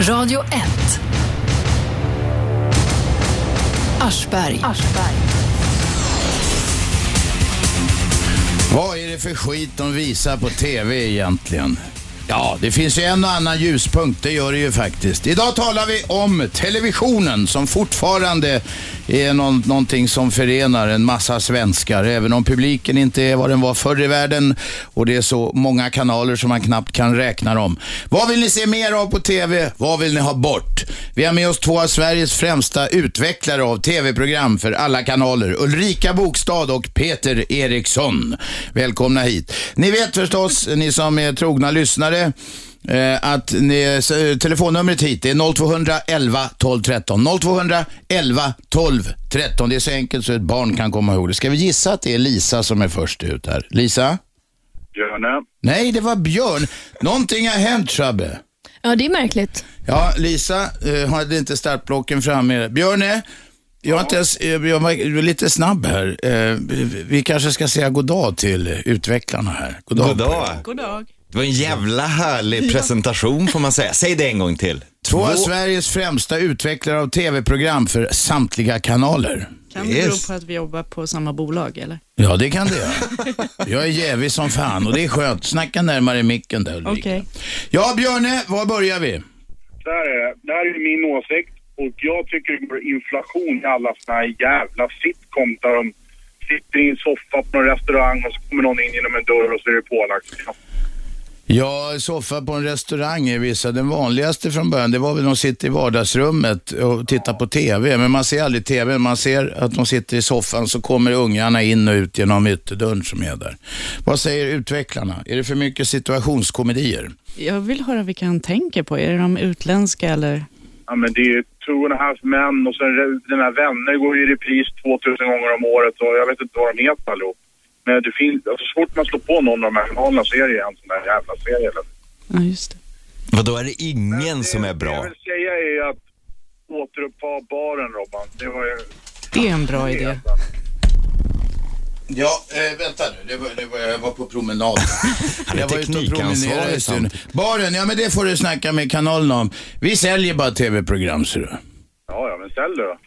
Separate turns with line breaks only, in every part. Radio 1. Aschberg.
Vad är det för skit de visar på TV egentligen? Ja, det finns ju en och annan ljuspunkt, det gör det ju faktiskt. Idag talar vi om televisionen som fortfarande är någon, någonting som förenar en massa svenskar, även om publiken inte är vad den var förr i världen och det är så många kanaler som man knappt kan räkna dem. Vad vill ni se mer av på TV? Vad vill ni ha bort? Vi har med oss två av Sveriges främsta utvecklare av TV-program för alla kanaler, Ulrika Bokstad och Peter Eriksson. Välkomna hit. Ni vet förstås, ni som är trogna lyssnare, eh, att ni, s- eh, telefonnumret hit är 0211 12 13. 0211 12 13. Det är så enkelt så ett barn kan komma ihåg det. Ska vi gissa att det är Lisa som är först ut här? Lisa?
Björne.
Nej, det var Björn. Någonting har hänt, Shabbe.
Ja, det är märkligt.
Ja, Lisa eh, hade inte startblocken framme. Björne, jag, har inte ens, eh, jag var jag var lite snabb här. Eh, vi- vi kanske ska säga god dag till eh, utvecklarna här. God dag.
God dag.
God dag.
Det var en jävla härlig presentation får man säga. Säg det en gång till.
Två av Sveriges främsta utvecklare av tv-program för samtliga kanaler.
Kan det bero
Yes.
på att vi jobbar på samma bolag eller?
Ja, det kan det göra. Jag är jävig som fan och det är skönt. Snacka närmare micken där Ulrika.
Okej.
Ja, Björne, var börjar vi?
Så här är det. Det här är min åsikt och jag tycker det går inflation i alla såna här jävla sitcoms där de sitter i en soffa på någon restaurang och så kommer någon in genom en dörr och så är det pålagt.
Ja, soffa på en restaurang är vissa. Den vanligaste från början, det var väl de sitter i vardagsrummet och tittar på TV. Men man ser aldrig TV, man ser att de sitter i soffan så kommer ungarna in och ut genom ytterdörren som är där. Vad säger utvecklarna? Är det för mycket situationskomedier?
Jag vill höra vilka han tänker på. Är det de utländska eller?
Ja, men det är ju Two and a half men och sen den här vänner går ju i repris 2000 gånger om året och jag vet inte vad de heter allihop. Men det finns, alltså, så fort man slår på någon av de här kanalerna så är det ju en sån där jävla serie. Eller?
Ja, just det.
Vadå, är det ingen som är
Det jag
bra?
vill säga är ju att återuppta baren Robban. Det var ju...
Det är en bra idé.
Ja, eh, vänta nu. Det var, det var, jag var på promenad.
Han är
jag var ute och
teknikansvarig
promenerade i stund.
samtidigt.
Baren, ja men det får du snacka med kanalen om. Vi säljer bara tv-program ser du.
Ja, ja, men ställ det då.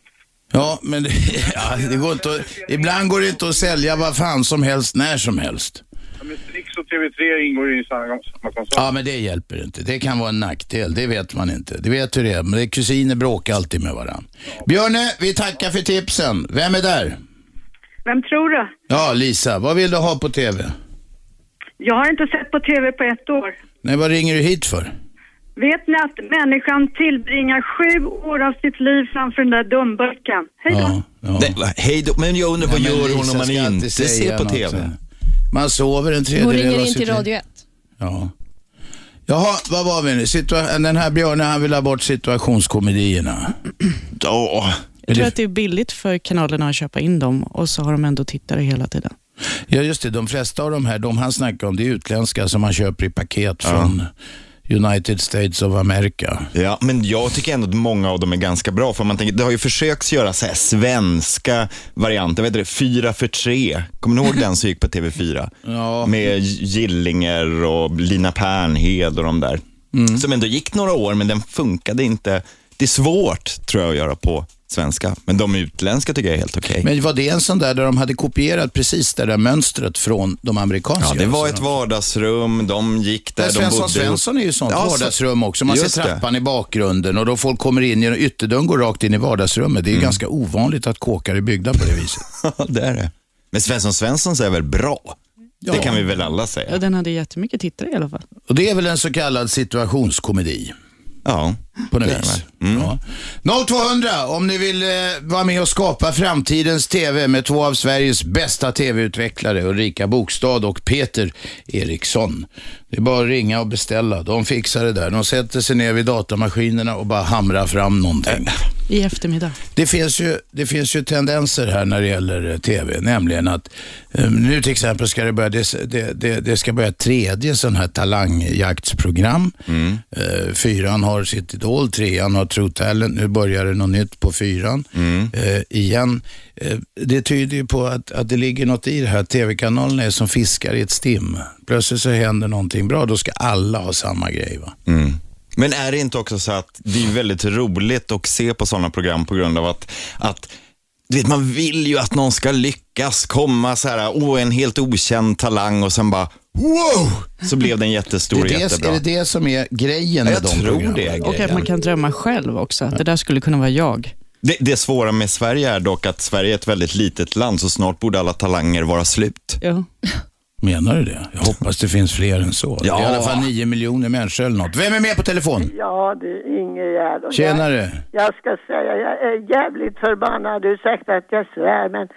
Ja, men det, ja, det går inte att, ibland går det inte att sälja vad fan som helst när som helst.
Ja, men Strix och TV3 ingår ju i samma, samma koncern.
Ja, men det hjälper inte. Det kan vara en nackdel, det vet man inte. Det vet hur det är, men det är kusiner bråkar alltid med varandra. Björne, vi tackar för tipsen. Vem är där?
Vem tror du?
Ja, Lisa, vad vill du ha på TV?
Jag har inte sett på TV på ett år.
Nej, vad ringer du hit för?
Vet ni att människan tillbringar sju år av sitt liv framför den där dumburken? Hej då!
Ja, ja.
Det, va, hej då. Men jag undrar, vad
Nej, men
gör hon
Lisa
om man
ska alltid
inte
säga
ser på
något
TV?
sånt. Man sover en
Hon
tredjedel
ringer
av
in
sitt
till
liv.
Radio 1.
Ja. Jaha, vad var vi nu? Situa- den här Björne, han vill ha bort situationskomedierna.
Ja.
Men
Jag tror
det-
att det är billigt för kanalerna att köpa in dem och så har de ändå tittare hela tiden.
Ja, just det. De flesta av de här, de han snackar om, det är utländska som man köper i paket från United States of America.
Ja, men jag tycker ändå att många av dem är ganska bra. För man tänker, det har ju försökts göra så här svenska varianter. Vad heter det? Fyra för tre. Kommer ni ihåg den som gick på TV4?
Ja.
Med Gillinger och Lina Pernhed och de där.
Mm.
Som ändå gick några år, men den funkade inte. Det är svårt, tror jag, att göra på svenska. Men de utländska tycker jag är helt okej.
Men var det en sån där där de hade kopierat precis det där mönstret från de amerikanska?
Ja, det var ett
Så de-
vardagsrum, de gick där,
Alltså. Men
de
Svensson
bodde
Svensson är ju sånt
Ja, så-
vardagsrum också. Man ser
just det.
trappan i bakgrunden och då folk kommer in genom ytterdörren går rakt in i vardagsrummet. Det är ju ganska ovanligt att kåkar är byggda på det viset.
Mm. Ja, det är det. Men Svensson Svenssons är väl bra? Det kan vi väl alla
Ja,
säga?
den hade jättemycket tittare i alla fall.
Och det är väl en så kallad situationskomedi.
Ja.
på något vis. Ja. 0200 om ni vill eh, vara med och skapa framtidens TV med två av Sveriges bästa TV-utvecklare Ulrika Bokstad och Peter Eriksson. Det är bara att ringa och beställa. De fixar det där. De sätter sig ner vid datamaskinerna och bara hamrar fram någonting.
I eftermiddag.
Det finns, ju, det finns ju tendenser här när det gäller eh, TV, nämligen att eh, nu till exempel ska det börja, det, det, det, det ska börja ett tredje sån här talangjaktsprogram. Eh, fyran har sitt Idol, trean har True Talent, nu börjar det något nytt på fyran eh, igen. Eh, det tyder ju på att, att det ligger något i det här, TV-kanalerna är som fiskar i ett stim. Plötsligt så händer någonting bra, då ska alla ha samma grej. Va?
Mm. Men är det inte också så att det är väldigt roligt att se på sådana program på grund av att, att du vet, man vill ju att någon ska lyckas komma så här, åh, en helt okänd talang och sen bara, wow, så blev den
Det
jättestor
är, det,
jättebra.
är det det som är grejen
Ja,
med
jag
de
tror
programmen?
det är
Och att man
grejen.
kan drömma själv också, att det där skulle kunna vara jag.
Det, det svåra med Sverige är dock att Sverige är ett väldigt litet land, så snart borde alla talanger vara slut.
Ja.
Menar du det? Jag hoppas det finns fler än så. Det är i alla fall 9 miljoner människor eller något. Vem är med på telefon?
Ja du, Ingegärd. Och
Tjenare.
Jag, jag ska säga, jag är jävligt förbannad. Ursäkta att jag svär, men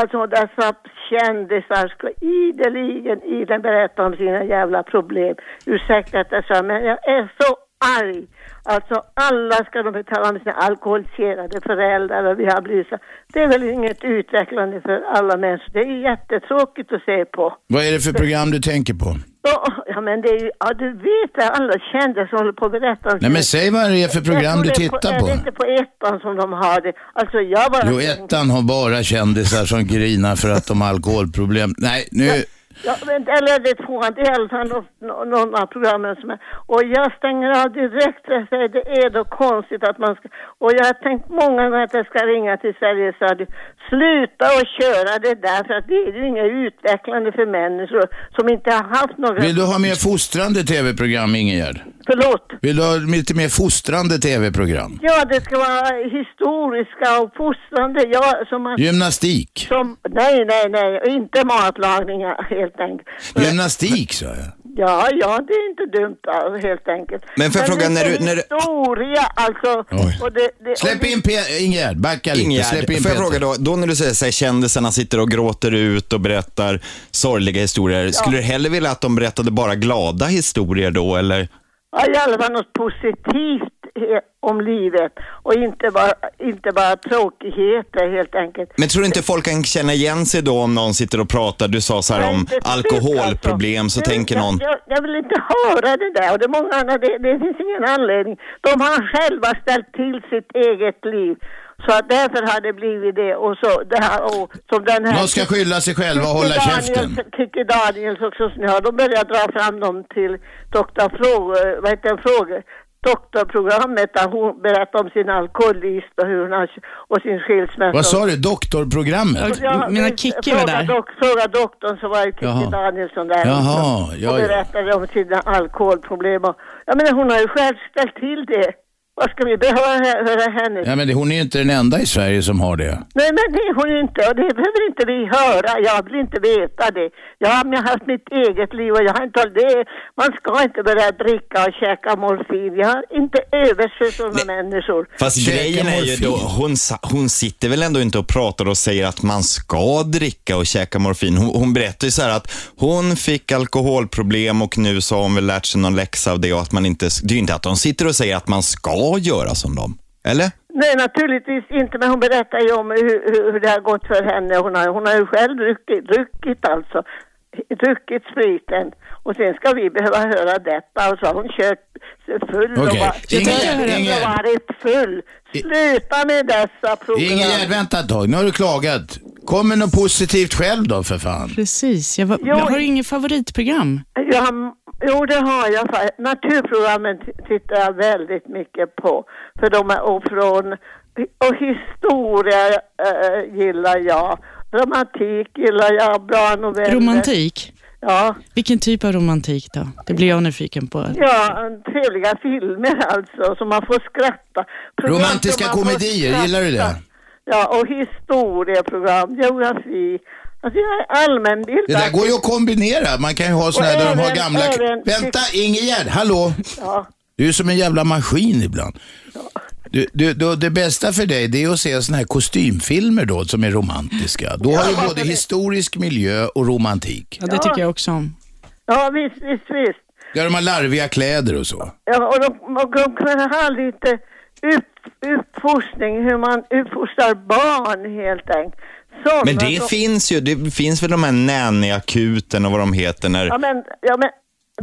alltså dessa kändisar ska ideligen, ideligen berätta om sina jävla problem. Ursäkta att jag svär, men jag är så arg. Alltså alla ska de betala om sina alkoholiserade föräldrar och vi har blivit så. Det är väl inget utvecklande för alla människor. Det är jättetråkigt att se på.
Vad är det för program du tänker på?
Ja, Ja, men det är ju, ja du vet det, alla kändisar som håller på att berätta om
Nej men säg vad det är för
jag
program
tror
du
det är
tittar
Är det
på.
inte på ettan som de har det? Alltså jag bara...
Jo, ettan har bara kändisar som grinar för att de har alkoholproblem. Nej, nu...
Ja, men, eller det är tvåan, det är i alla fall nå- nå- någon av programmen som är... Och jag stänger av direkt, jag säger det är då konstigt att man ska... Och jag har tänkt många gånger att jag ska ringa till Sveriges Radio. Sluta och köra det där för att det är ju inget utvecklande för människor som inte har haft några...
Vill du ha mer fostrande tv-program, Ingegerd?
Förlåt.
Vill du ha lite mer fostrande tv-program?
Ja, det ska vara historiska och fostrande. Ja, som man...
Gymnastik.
Som, nej, nej, nej, inte matlagningar helt enkelt.
Gymnastik, sa jag.
Ja, ja, det är inte dumt alltså, helt enkelt.
Men får jag fråga, när du- när du-
Historia alltså. Och det, det,
Släpp
och
in Pe- Ingegerd, backa lite. Släpp in
Ingegärd, får jag fråga
Peter.
då, då när du säger så här, kändisarna sitter och gråter ut och berättar sorgliga historier, skulle du hellre vilja att de berättade bara glada historier då eller?
Ja, i alla fall något positivt eh, om livet. Och inte bara, inte bara tråkigheter helt enkelt.
Men tror du inte folk kan känna igen sig då om någon sitter och pratar, du sa så här
Nej,
om
det är
alkoholproblem,
alltså.
så
Jag-
tänker
jag-
någon,
Jag, jag vill inte höra det där och det är många andra, det, det finns ingen anledning. De har själva ställt till sitt eget liv. Så att därför har det blivit det och så det här och som den här...
De ska skylla sig själva och hålla
Kikki
käften.
Daniels- Kikki Daniels också, så nu har de börjat dra fram dem till doktor frågor, vad heter det, frågor, doktorprogrammet där hon berättar om sin alkoholist och hur hon har, och sin skilsmässa.
Vad sa du? Doktorprogrammet?
Ja,
Mina
vi-
Kikki var
fråga,
där.
Dok fråga doktorn så var ju
Jaha.
Kikki Danielsson där.
Jaha,
och,
ja,
och
ja.
berättade om sina alkoholproblem. Och, jag menar hon har ju själv ställt till det. Vad ska vi behöva hö- höra henne?
Ja, men det, hon är ju inte den enda i Sverige som har det.
Nej men det är hon ju inte och det behöver inte vi höra. Jag vill inte veta det. Jag har jag har haft mitt eget liv och jag har inte hållit det. Man ska inte börja dricka och käka morfin. Jag har inte översyn sådana människor.
fast
Käka
grejen är ju
morfin.
då, hon, sa- hon sitter väl ändå inte och pratar och säger att man ska dricka och käka morfin. Hon, hon berättar ju så här att hon fick alkoholproblem och nu så har hon väl lärt sig någon läxa av det och att man inte, det är ju inte att de sitter och säger att man ska göra som dem, eller?
Nej, naturligtvis inte, men hon berättar ju om hur, hur hur det har gått för henne. Hon har, hon har ju själv druckit, druckit alltså, druckit spriten. Och sen ska vi behöva höra detta. Och så har hon kört full och,
Okej.
var,
Ingegerd, Ingegerd.
och varit full. Sluta med dessa
Ingegerd,
program.
vänta ett tag. Nu har du klagat. Kom med något positivt själv då, för fan.
Precis, jag, var,
Jo.
jag har inget favoritprogram.
Jag, jo, det har jag. fa- Naturprogrammen t- tittar jag väldigt mycket på. För de är och från... Och historia eh, gillar jag. Romantik gillar jag. Bra noveller.
Romantik.
eh, Ja,
Vilken typ av romantik då? Det blir jag nyfiken på.
ja, trevliga filmer alltså, som man får skratta. Program som
Romantiska
man får
komedier, gillar du det?
skratta. Ja, och historieprogram, geografi. Alltså jag är alltså. allmänbildad.
Det där går ju att kombinera. Man kan ju ha såna här där de har
även-
gamla...
även-
Vänta, Ingegerd, hallå!
Ja.
Du är som en jävla maskin ibland. Du, du, du, det bästa för dig det är att se såna här kostymfilmer då som är romantiska. Då har du både historisk miljö och romantik.
Ja, det tycker jag också om.
ja, visst, visst, visst.
Där de har larviga kläder och så.
Ja, och de, och de kunde ha lite upp, uppfostring, hur man uppfostrar barn helt enkelt. Sådana
Men det
som-
finns ju. Det finns väl de här nannyakuten och vad de heter när...
Ja, men, ja, men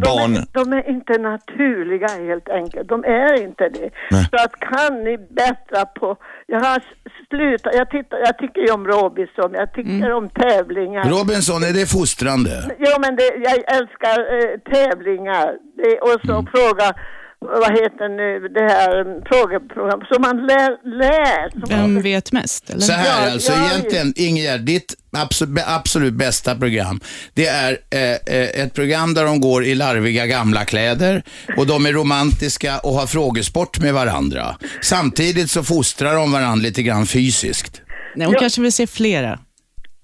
de,
Barn.
Är, de är inte naturliga helt enkelt. De är inte det.
Nej.
Så att kan ni bättra på... Jag har s- slutat... Jag, tittar, jag tycker ju om Robinson, jag tycker om tävlingar.
Mm. Robinson, är det fostrande? Mm.
Jo, men det, jag älskar eh, tävlingar. Det, och så fråga vad heter nu, det här mm, frågeprogram som man lär, lär som
Vem vet mest? Eller?
Så här
Ja,
alltså,
ja,
egentligen Ingegerd, ditt absolut, absolut bästa program, det är eh, eh, ett program där de går i larviga gamla kläder och de är romantiska och har frågesport med varandra. Samtidigt så fostrar de varandra lite grann fysiskt.
Nej, hon kanske vill se flera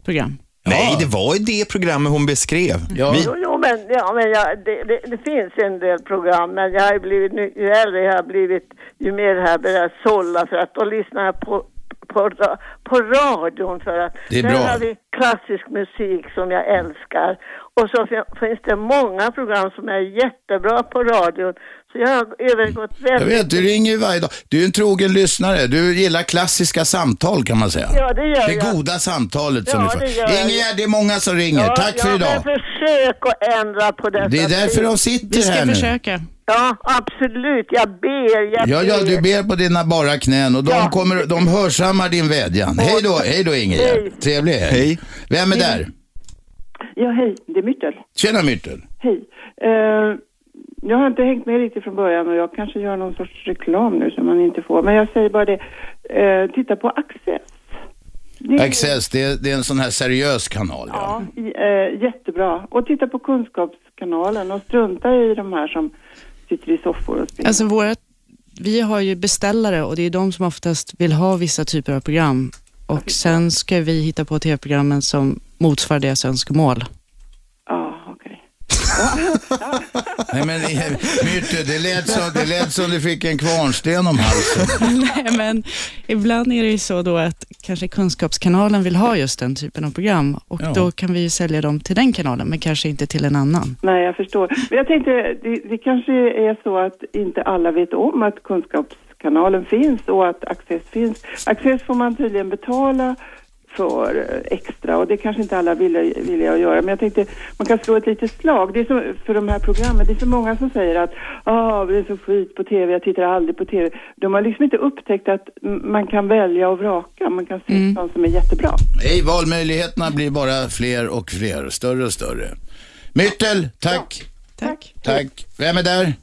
program.
Nej, det var ju det programmet hon beskrev.
Ja.
Vi,
Jo, jo, men, ja, men jag, det, det, det finns en del program, men jag har ju blivit, nu- ju äldre jag har blivit, ju mer har jag börjat sålla för att då lyssnar jag på på, ra- på radion för att
Det är
där
bra.
har vi klassisk musik som jag älskar och så fin- finns det många program som är jättebra på radion så jag har övergått
Jag
väldigt
vet, du ringer ju varje dag. Du är en trogen lyssnare. Du gillar klassiska samtal kan man säga.
Ja, det gör
Det
jag.
goda samtalet som
Ja,
du får.
det gör jag.
Ingegerd, det är många som ringer.
Ja,
Tack för
ja,
idag.
Men försök att ändra på detta.
Det är därför de sitter
Vi ska
här nu.
försöka.
Ja, absolut. Jag ber, jag
Ja, ja,
ber.
du ber på dina bara knän och de,
Ja.
kommer, de hörsammar din vädjan. Hej då, hej då
Hej.
Ingegerd. Trevlig helg.
Hej.
Vem är där?
Ja, hej. Det är Myrtel.
Tjena Myrtel.
Hej. Eh, jag har inte hängt med riktigt från början och jag kanske gör någon sorts reklam nu som man inte får. Men jag säger bara det. Eh, titta på Access. Det är-
Access, det är, det är en sån här seriös kanal. Ja.
Ja, i- eh, jättebra. Och titta på Kunskapskanalen och strunta i de här som sitter i soffor och spelar.
Alltså våra, vi har ju beställare och det är de som oftast vill ha vissa typer av program. Och sen ska vi hitta på tv-programmen som motsvarar deras önskemål.
Ja, okej.
Nej men eh, Myrtel, det lät, som, det lät som du fick en kvarnsten om halsen.
Nej, men ibland är det ju så då att kanske Kunskapskanalen vill ha just den typen av program och
Ja.
då kan vi ju sälja dem till den kanalen men kanske inte till en annan.
Nej, jag förstår. Men jag tänkte, det, det kanske är så att inte alla vet om att Kunskapskanalen finns och att Access finns. Access får man tydligen betala för eh, extra och det kanske inte alla vill, vill jag göra. Men jag tänkte, man kan slå ett litet slag. Det är så, för de här programmen, det är så många som säger att ah, det är så skit på tv, jag tittar aldrig på tv. De har liksom inte upptäckt att mm, man kan välja och vraka, man kan se sånt som är jättebra.
Nej, valmöjligheterna blir bara fler och fler, större och större. Myrtel, tack.
Tack.
Tack. Vem är där?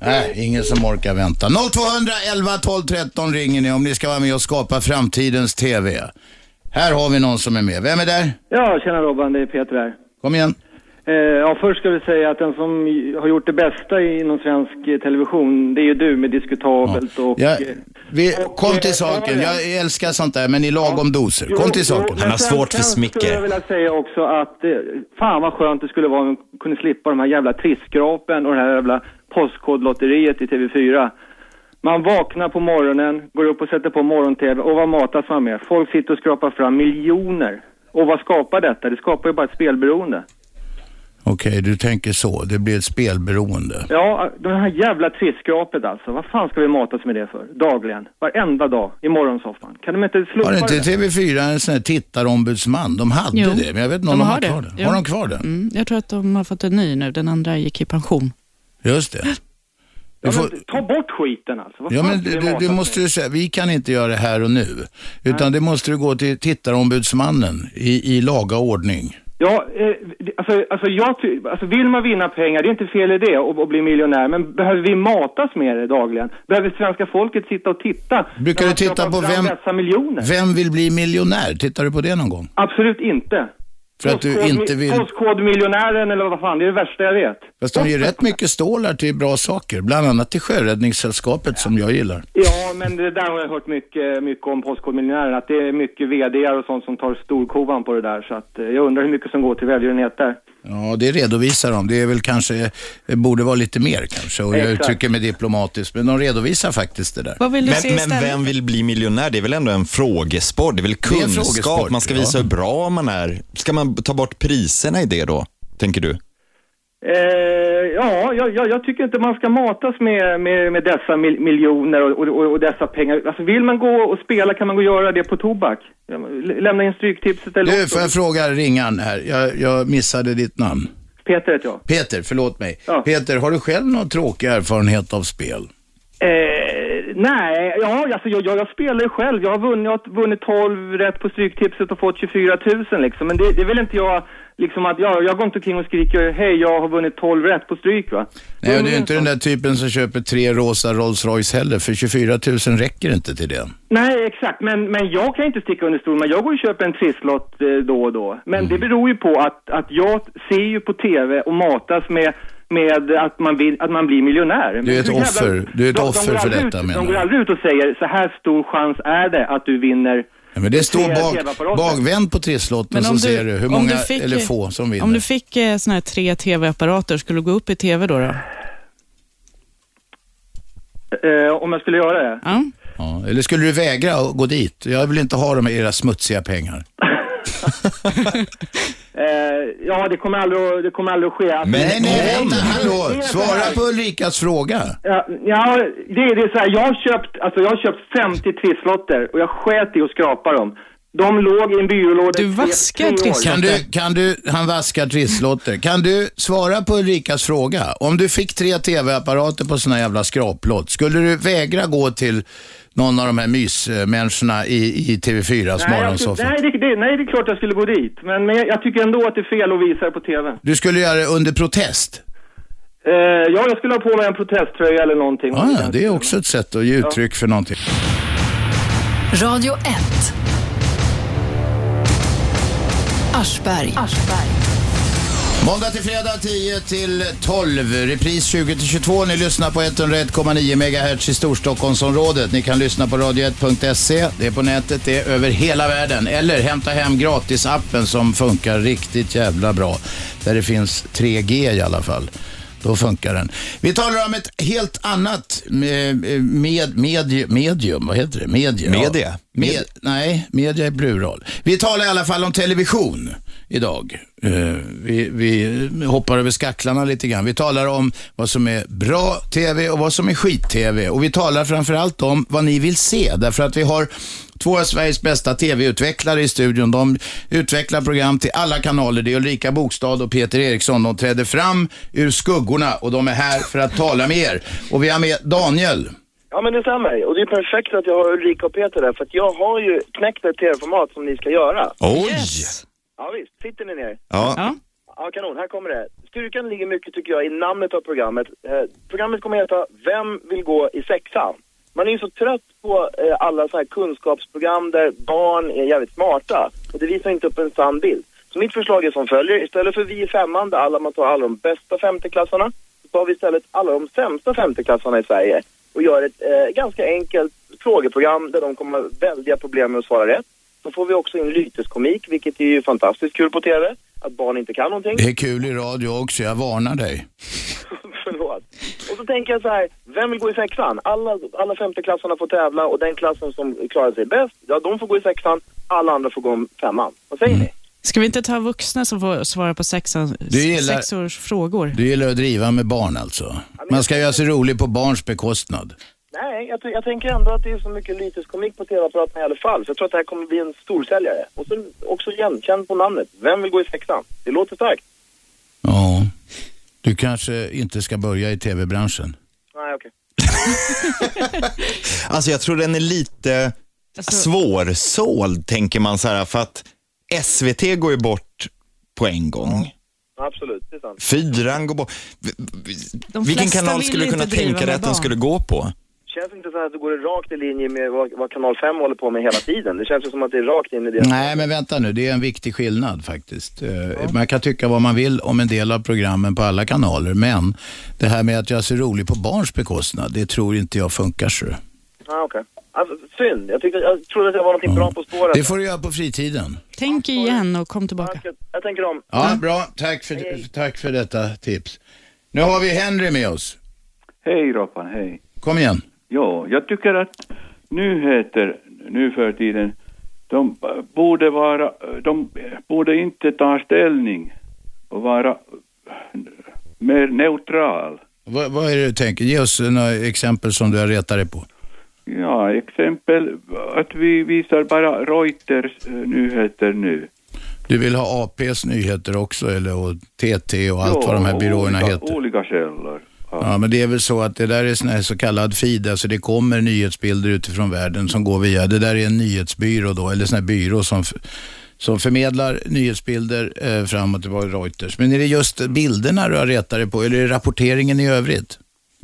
Nej, ingen som orkar vänta. 0211 12 13 ringer ni om ni ska vara med och skapa framtidens TV. Här har vi någon som är med. Vem är där?
Ja, tjena Robban, det är Peter här.
Kom igen.
Eh, ja, först ska vi säga att den som har gjort det bästa inom svensk eh, television, det är ju du med Diskutabelt och...
Jag,
eh,
vi, kom till saken. Jag älskar sånt där, men i lagom doser. Kom till saken.
men
Han har
sen-
svårt för
Sen skulle
smicker.
jag vilja säga också att eh, fan vad skönt det skulle vara om man kunde slippa de här jävla trisskrapen och det här jävla postkodlotteriet i TV4. Man vaknar på morgonen, går upp och sätter på morgon-TV och vad matas man med? Folk sitter och skrapar fram miljoner. Och vad skapar detta? Det skapar ju bara ett spelberoende.
Okej, du tänker så. Det blir ett spelberoende.
Ja, den här jävla trisskrapet alltså. Vad fan ska vi matas med det för? Dagligen. Varenda dag. I morgonsoffan. Kan de inte slopa
Har inte
det?
TV4 en sån här tittarombudsman? De hade
Jo.
det, men jag vet inte om de, har kvar det.
Jo.
Har de kvar det?
Mm, jag tror att de har fått en ny nu, den andra gick i pension.
Just det.
Ja,
Du får-
men, ta bort skiten alltså. Vad
Ja,
fan
men
ska vi
du, du- du
matas
måste
med?
ju säga, vi kan inte göra det här och nu. Utan det måste du gå till tittarombudsmannen i, i laga ordning.
Ja, eh, det- alltså, alltså, jag ty... alltså vill man vinna pengar, det är inte fel i det och, och bli miljonär. Men behöver vi matas med det dagligen? Behöver svenska folket sitta och titta?
Brukar
när
du
man
titta
skrapar
på
fram
vem-
Dessa miljoner?
Vem vill bli miljonär? Tittar du på det någon gång?
Absolut inte.
För att du
Postkodmi-
inte vill...
Postkodmiljonären eller vad fan, det är det värsta jag vet.
Fast de ger rätt mycket stålar till bra saker. Bland annat till Sjöräddningssällskapet som jag gillar.
Ja, men det där har jag hört mycket, mycket om Postkodmiljonären, att det är mycket vd och sånt som tar storkovan på det där. Så att, eh, jag undrar hur mycket som går till välgörenhet där.
Ja, det redovisar de. Det är väl kanske, det borde vara lite mer kanske. Och jag
Exakt.
uttrycker mig diplomatiskt, men de redovisar faktiskt det där.
Vad vill du se
Men, men
istället?
vem vill bli miljonär? Det är väl ändå en frågesport? Det är väl
är en
kunskap?
frågesport,
Man ska
ja.
visa hur bra man är. Ska man ta bort priserna i det då, tänker du?
Eh, ja, jag, jag, jag tycker inte man ska matas med, med, med dessa mil, miljoner och, och, och dessa pengar. Alltså, vill man gå och spela kan man gå och göra det på tobak. Lämna in stryktipset eller
Du, får jag fråga ringaren här? Jag, jag missade ditt namn.
Peter heter jag.
Peter, förlåt mig.
Ja.
Peter, har du själv någon tråkig erfarenhet av spel?
Eh, nej, ja, alltså, jag, jag, jag spelar ju själv. Jag har vunnit, jag har vunnit 12 rätt på Stryktipset och fått 24 000 liksom. Men det, det vill inte jag, liksom att jag, jag går inte omkring och skriker hej, jag har vunnit 12 rätt på Stryk va.
Nej, och det är ju inte den där typen som köper tre rosa Rolls Royce heller, för 24 000 räcker inte till det.
Nej, exakt. Men, men jag kan inte sticka under stol med. Jag går och köper en trisslott eh, då och då. Men det
Mm.
beror ju på att, att jag ser ju på TV och matas med, med att, man vill, att man blir miljonär. Men
Du är ett
hur jävla-
offer. Du är ett
de- de
offer
går
för
aldrig
detta,
ut,
menar
De går
du?
aldrig ut och säger så här stor chans är det att du vinner.
Ja, Men det står
tre
bak,
TV-apparater."
bakvänd på trisslotten så ser du hur
om
många
du fick-
eller få som vinner.
Om du fick eh, såna här tre tv-apparater, skulle du gå upp i tv då? då?
Eh, om jag skulle göra det?
Ja, eller skulle du vägra att gå dit? Jag vill inte ha de här era smutsiga pengar.
Eh, ja, det kommer aldrig, att- det kommer aldrig att ske. Att-
nej, nej,
Om-
vänta,
Det är
hallå.
så här.
Svara på Ulrikas fråga.
Ja, ja det, är- det är så här, jag har köpt, alltså jag har köpt 50 trisslotter och jag sket i att skrapa dem. De låg i en byrålåda Du vaskar
Kan du, kan du, han vaskar trisslotter. Kan du svara på Ulrikas fråga? Om du fick tre tv-apparater på såna jävla skraplott, skulle du vägra gå till någon av de här mysmänniskorna i, i TV4s
Nej, alltså, jag
morgonsoffa?
skulle, nej, det, det, nej, det är klart jag skulle gå dit. Men, men jag, jag tycker ändå att det är fel att visa det på TV.
Du skulle göra det under protest?
Eh, ja, jag skulle ha på mig en protesttröja eller någonting.
Ja, ja, det är också ett sätt att ge uttryck för någonting.
Radio 1. Aschberg.
Måndag till fredag 10 till 12. Repris 20 till 22. Ni lyssnar på 101,9 MHz i Storstockholmsområdet. Ni kan lyssna på radio1.se. Det är på nätet, det är över hela världen. Eller hämta hem gratisappen som funkar riktigt jävla bra. Där det finns 3G i alla fall. Då funkar den. Vi talar om ett helt annat med, med, med, medium. Vad heter det? Media.
Media.
Med, nej, media är plural. Vi talar i alla fall om television idag. Eh, vi, vi hoppar över skacklarna lite grann. Vi talar om vad som är bra TV och vad som är skit-TV. Och vi talar framförallt om vad ni vill se. Därför att vi har två av Sveriges bästa TV-utvecklare i studion. De utvecklar program till alla kanaler. Det är Ulrika Bokstad och Peter Eriksson. De träder fram ur skuggorna och de är här för att tala med er. Och vi har med Daniel.
Ja men det stämmer. Och det är perfekt att jag har Ulrika och Peter där för att jag har ju knäckt ett tv-format som ni ska göra.
Oj!
Ja visst, sitter ni ner?
Ja.
Ja kanon, här kommer det. Styrkan ligger mycket tycker jag i namnet av programmet. Eh, programmet kommer heta Vem vill gå i sexan? Man är ju så trött på eh, alla så här kunskapsprogram där barn är jävligt smarta och det visar inte upp en sann bild. Så mitt förslag är som följer. Istället för vi i femman där alla, man tar alla de bästa femteklassarna så tar vi istället alla de sämsta femteklassarna i Sverige och gör ett eh, ganska enkelt frågeprogram där de kommer ha väldiga problem med att svara rätt. Då får vi också in lyteskomik, vilket är ju fantastiskt kul på TV. Att barn inte kan någonting.
Det är kul i radio också, jag varnar dig.
Förlåt. Och så tänker jag så här, vem vill gå i sexan? Alla, alla femteklassarna får tävla och den klassen som klarar sig bäst, ja de får gå i sexan, alla andra får gå om femman. Vad säger ni?
Ska vi inte ta vuxna som får svara på sexan,
Du gillar-
sexårs frågor?
Du gillar att driva med barn alltså? Man ska göra sig rolig på barns bekostnad.
Nej, jag, ty- jag tänker ändå att det är så mycket lyteskomik på TV-apparaterna i alla fall, så jag tror att det här kommer bli en storsäljare. Och så också igenkänd på namnet, vem vill gå i sexan? Det låter starkt.
Ja. Du kanske inte ska börja i tv-branschen?
Nej, okej.
Alltså jag tror den är lite
Alltså-
svårsåld, tänker man så här, för att SVT går ju bort på en gång.
Absolut, det är sant.
Fyran går bort. V- v-
De
Vilken
flesta
kanal
vill
skulle du kunna
inte driva
tänka dig
med
att den
barn.
skulle gå på?
Känns inte så här att det går rakt i linje med vad, vad Kanal 5 håller på med hela tiden? Det känns ju som att det är rakt in i det.
Nej, men vänta nu. Det är en viktig skillnad faktiskt. Eh, Man kan tycka vad man vill om en del av programmen på alla kanaler, men det här med att göra sig rolig på barns bekostnad, det tror inte jag funkar. Så.
Ah, okej. Alltså, synd. Jag, tyckte, jag trodde att jag var någonting bra på spåren.
Det får du göra på fritiden.
Tänk igen och kom tillbaka.
Jag tänker om.
Ja, bra. Tack för, tack för detta tips. Nu har vi Henry med oss.
Hej Robban, hej.
Kom igen.
Ja, jag tycker att nyheter nu för tiden, de borde vara, de borde inte ta ställning och vara eh, mer neutral.
Vad, vad är det du tänker? Ge oss några exempel som du har retat dig på.
Ja, exempel att vi visar bara Reuters eh, nyheter nu.
Du vill ha APs nyheter också eller och TT och allt
Ja,
vad de här byråerna
olika,
heter?
Olika källor.
Ja, men det är väl så att det där är sån här så kallad feed, alltså det kommer nyhetsbilder utifrån världen som går via, det där är en nyhetsbyrå då, eller sån här byrå som, f- som förmedlar nyhetsbilder eh, fram och tillbaka i Reuters. Men är det just bilderna du har retat dig på, eller är det rapporteringen i övrigt?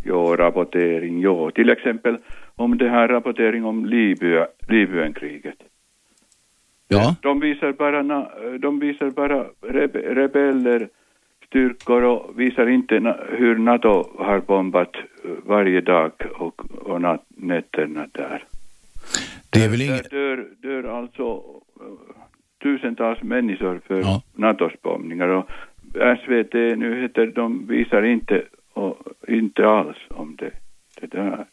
Ja, rapportering, ja. Till exempel om det här rapportering om Libya, Libyenkriget.
Ja.
De visar bara, na, de visar bara rebe, rebeller, styrkor och visar inte na, hur NATO har bombat eh, varje dag och, och nat, nätterna där.
Det är väl
Där dör, dör alltså eh, tusentals människor för NATOs bombningar och SVT Nyheter de visar inte, och, inte alls om det, det där.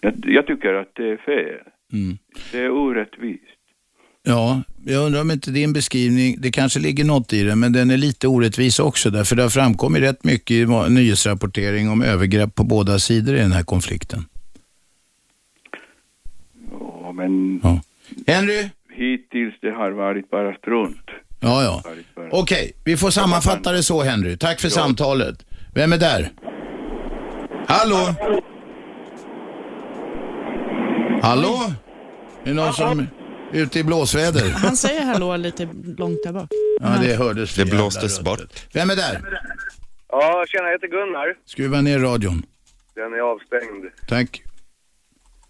Jag, jag tycker att det är fel.
Mm.
Det är orättvist.
Ja, jag undrar om inte din beskrivning, det kanske ligger något i den, men den är lite orättvis också därför det har framkommit rätt mycket i va- nyhetsrapportering om övergrepp på båda sidor i den här konflikten.
Ja, men...
Henry?
Hittills det har varit bara strunt.
Ja, ja. Okej, vi får sammanfatta det så Henry. Tack för samtalet. Vem är där? Hallå? Hallå? Är det någon som är ute i blåsväder?
Han säger hallå lite långt där bak.
Ja, det hördes.
Det blåstes bort.
Vem är där?
Ja, tjena, jag heter Gunnar.
Skruva ner radion.
Den är avstängd.
Tack.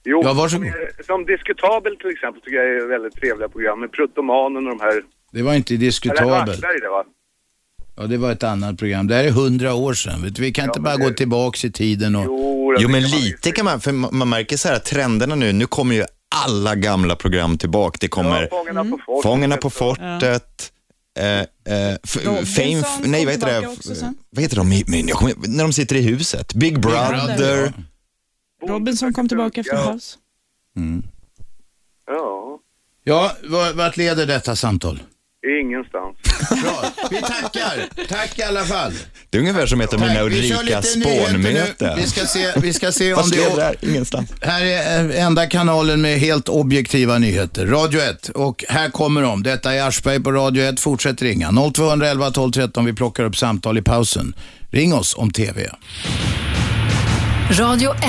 Jo,
Ja, varsågod.
som Diskutabel till exempel tycker jag är väldigt trevliga program med Pruttomanen och de här.
Det var inte
Eller
diskutabelt.
Axberg det va?
Ja, det var ett annat program. Det här är hundra år sedan. Vet du. Vi kan inte bara gå tillbaks i tiden och...
Jo, men lite kan man, för ma- man märker så här att trenderna nu, nu kommer ju alla gamla program tillbaka. Det kommer
Fångarna på fortet.
Fångarna på fortet, eh, eh, f-
Robinson
Fame, f- nej vad heter
kom
det?
tillbaka också sen.
Vad heter de? i- Men jag kommer, när de sitter i huset. Big Brother.
Brother. Robinson kom tillbaka efter
Ja.
paus.
Ja,
Ja, va- vart leder detta samtal?
ingenstans.
Vi tackar. Tack i alla fall.
Det är ungefär som ett av mina
vi kör
Ulrika
lite nyheter
Spån-möten.
nu. Vi ska se- vi ska se om
Fast
det-
lever det här? Ingenstans.
Här är eh, enda kanalen med helt objektiva nyheter. Radio 1. Och här kommer de. Detta är Aschberg på Radio 1. Fortsätt ringa. 0211 12 13. Vi plockar upp samtal i pausen. Ring oss om TV.
Radio 1.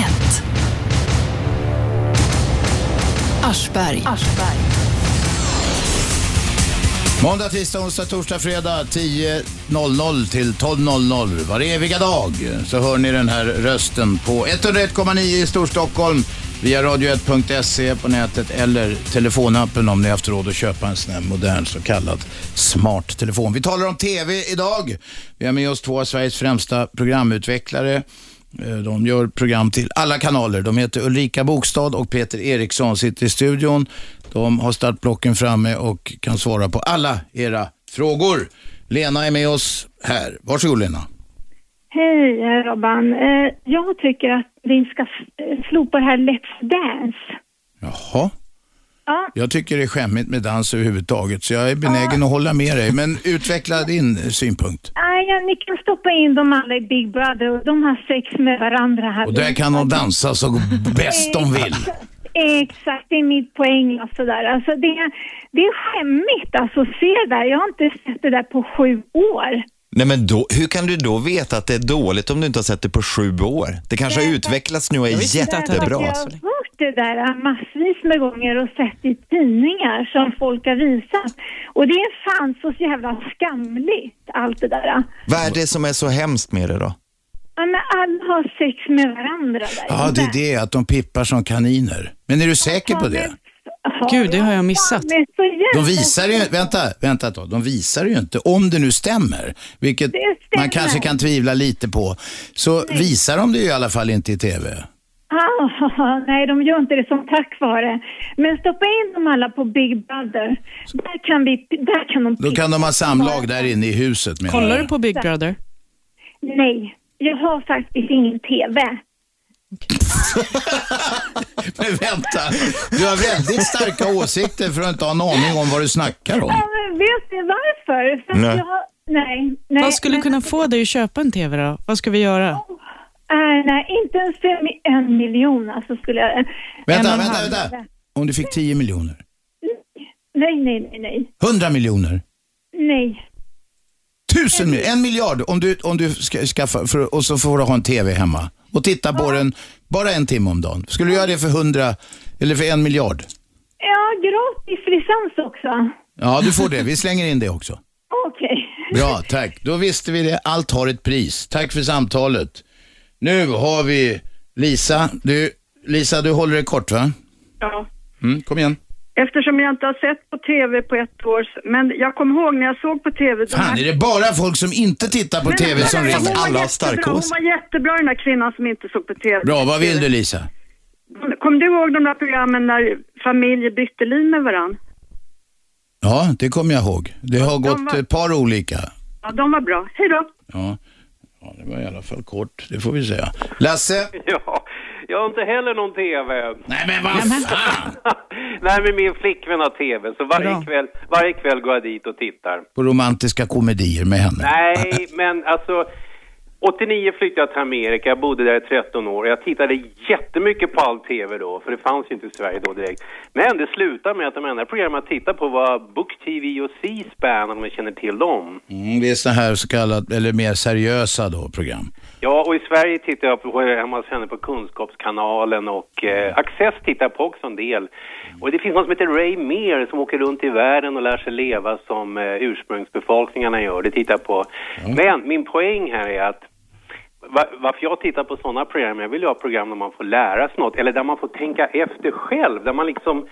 Aschberg.
Måndag, tisdag, onsdag, torsdag, fredag 10.00 till 12.00 var eviga dag så hör ni den här rösten på 101,9 i Storstockholm via radio1.se på nätet eller telefonappen om ni haft råd att köpa en sån här modern så kallad smart telefon. Vi talar om TV idag. Vi har med oss två av Sveriges främsta programutvecklare. Eh, De gör program till alla kanaler. De heter Ulrika Bokstad och Peter Eriksson sitter i studion. De har startblocken framme och kan svara på alla era frågor. Lena är med oss här. Varsågod Lena.
Hej eh, Robban. Eh, Jag tycker att vi ska eh, slå på det här Let's Dance.
Jaha.
Ja.
Jag tycker det är skämmigt med dans överhuvudtaget så jag är benägen att hålla med dig. Men utveckla din synpunkt.
Nej, ja, ni kan stoppa in dem alla i Big Brother och de har sex med varandra här.
Och där kan de dansa så bäst de vill.
Exakt, det är mitt poäng och sådär. Alltså det, det är skämmigt alltså att se det där. Jag har inte sett det där på sju år.
Nej, men då, hur kan du då veta att det är dåligt om du inte har sett det på sju år? Det kanske har utvecklats nu och är
Därför att
jättebra.
Jag har hört det där äh, massvis med gånger och sett i tidningar som folk har visat. Och det är fan så jävla skamligt allt det där.
Vad är det som är så hemskt med det då?
Ja, men alla har sex med varandra där.
Ja, det är det att de pippar som kaniner. Men är du säker på det?
Gud, det har jag missat.
Men så jävla...
De visar ju, vänta, vänta ett tag. De visar ju inte, om det nu stämmer, vilket man kanske kan tvivla lite på, så visar de det ju i alla fall inte i TV.
Ah, nej, de gör inte det som tack vare. Men stoppa in dem alla på Big Brother. Där kan, vi, där kan de...
Då kan de ha samlag där inne i huset menar
Kollar
jag.
du på Big Brother? Nej, jag har faktiskt ingen TV.
Men vänta, du har väldigt starka åsikter för att inte ha en aning om vad du snackar om.
Ja, men vet ni varför? För att
Nej.
Jag, nej, nej.
Vad skulle kunna få dig att köpa en TV då? Vad ska vi göra?
Äh, nej, inte ens för mi- en miljon alltså skulle jag...
Vänta,
en och en
vänta,
halv.
vänta. Om du fick 10 miljoner,
Nej, nej, nej, nej.
100 miljoner,
Nej.
Tusen mil, en miljard om du, om du ska, skaffa, för, och så får du ha en TV hemma och titta på den bara en timme om dagen. Skulle du göra det för hundra, eller för en miljard?
Ja, gratis licens också.
Ja, du får det. Vi slänger in det också.
Okej.
Bra, tack. Då visste vi det. Allt har ett pris. Tack för samtalet. Nu har vi Lisa. Du, Lisa, du håller det kort va?
Ja.
Mm, kom igen.
Eftersom jag inte har sett på TV på ett år, s- men jag kommer ihåg när jag såg på TV. de
Fan,
här-
är det bara folk som inte tittar på
Men-
TV som
men-
ringer?
hon var jättebra, Hon var jättebra den där kvinnan som inte såg på TV.
Bra, vad vill du Lisa?
Kom du ihåg de där programmen när familjer bytte liv med varandra?
Ja, det kommer jag ihåg. Det har gått
var-
ett par olika.
Ja, de var bra. Hej då!
Ja. ja, det var i alla fall kort, det får vi säga. Lasse?
Ja, jag har inte heller någon TV.
Nej men vad fan!
Nej men min flickvän har TV, så varje kväll, varje kväll går jag dit och tittar.
På romantiska komedier med henne.
Nej, men alltså... 89 flyttade jag till Amerika, jag bodde där i 13 år. Jag tittade jättemycket på all TV då, för det fanns ju inte i Sverige då direkt. Men det slutade med att de enda program jag tittade på var Book TV och C-SPAN, om man känner till dem.
Mm, det är så här så kallat, eller mer seriösa då, program.
Ja, och i Sverige tittar jag på, hemma hos henne på Kunskapskanalen och eh, Access tittar jag på också en del. Och det finns någon som heter Ray Meir som åker runt i världen och lär sig leva som eh, ursprungsbefolkningarna gör. Det tittar jag på. Men min poäng här är att va- varför jag tittar på sådana program, jag vill ju ha program där man får lära sig något, eller där man får tänka efter själv, där man liksom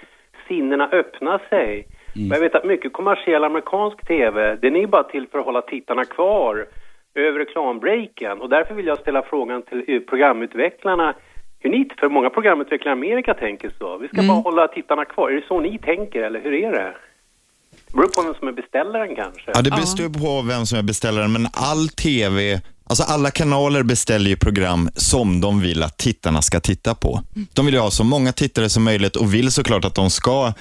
sinnena öppnar
Mm.
sig. Och Jag vet att mycket kommersiell amerikansk TV, den är ju bara till för att hålla tittarna kvar över reklambreaken. Och därför vill jag ställa frågan till eh, programutvecklarna hur ni, för många programutvecklare i Amerika tänker så. Vi ska
Mm.
bara hålla tittarna kvar. Är det så ni tänker eller hur är det? Det beror på vem som är beställaren kanske.
Ja, det består ju på vem som är beställaren, men all TV, alltså alla kanaler beställer ju program som de vill att tittarna ska titta på. De vill ju ha så många tittare som möjligt och vill såklart att de ska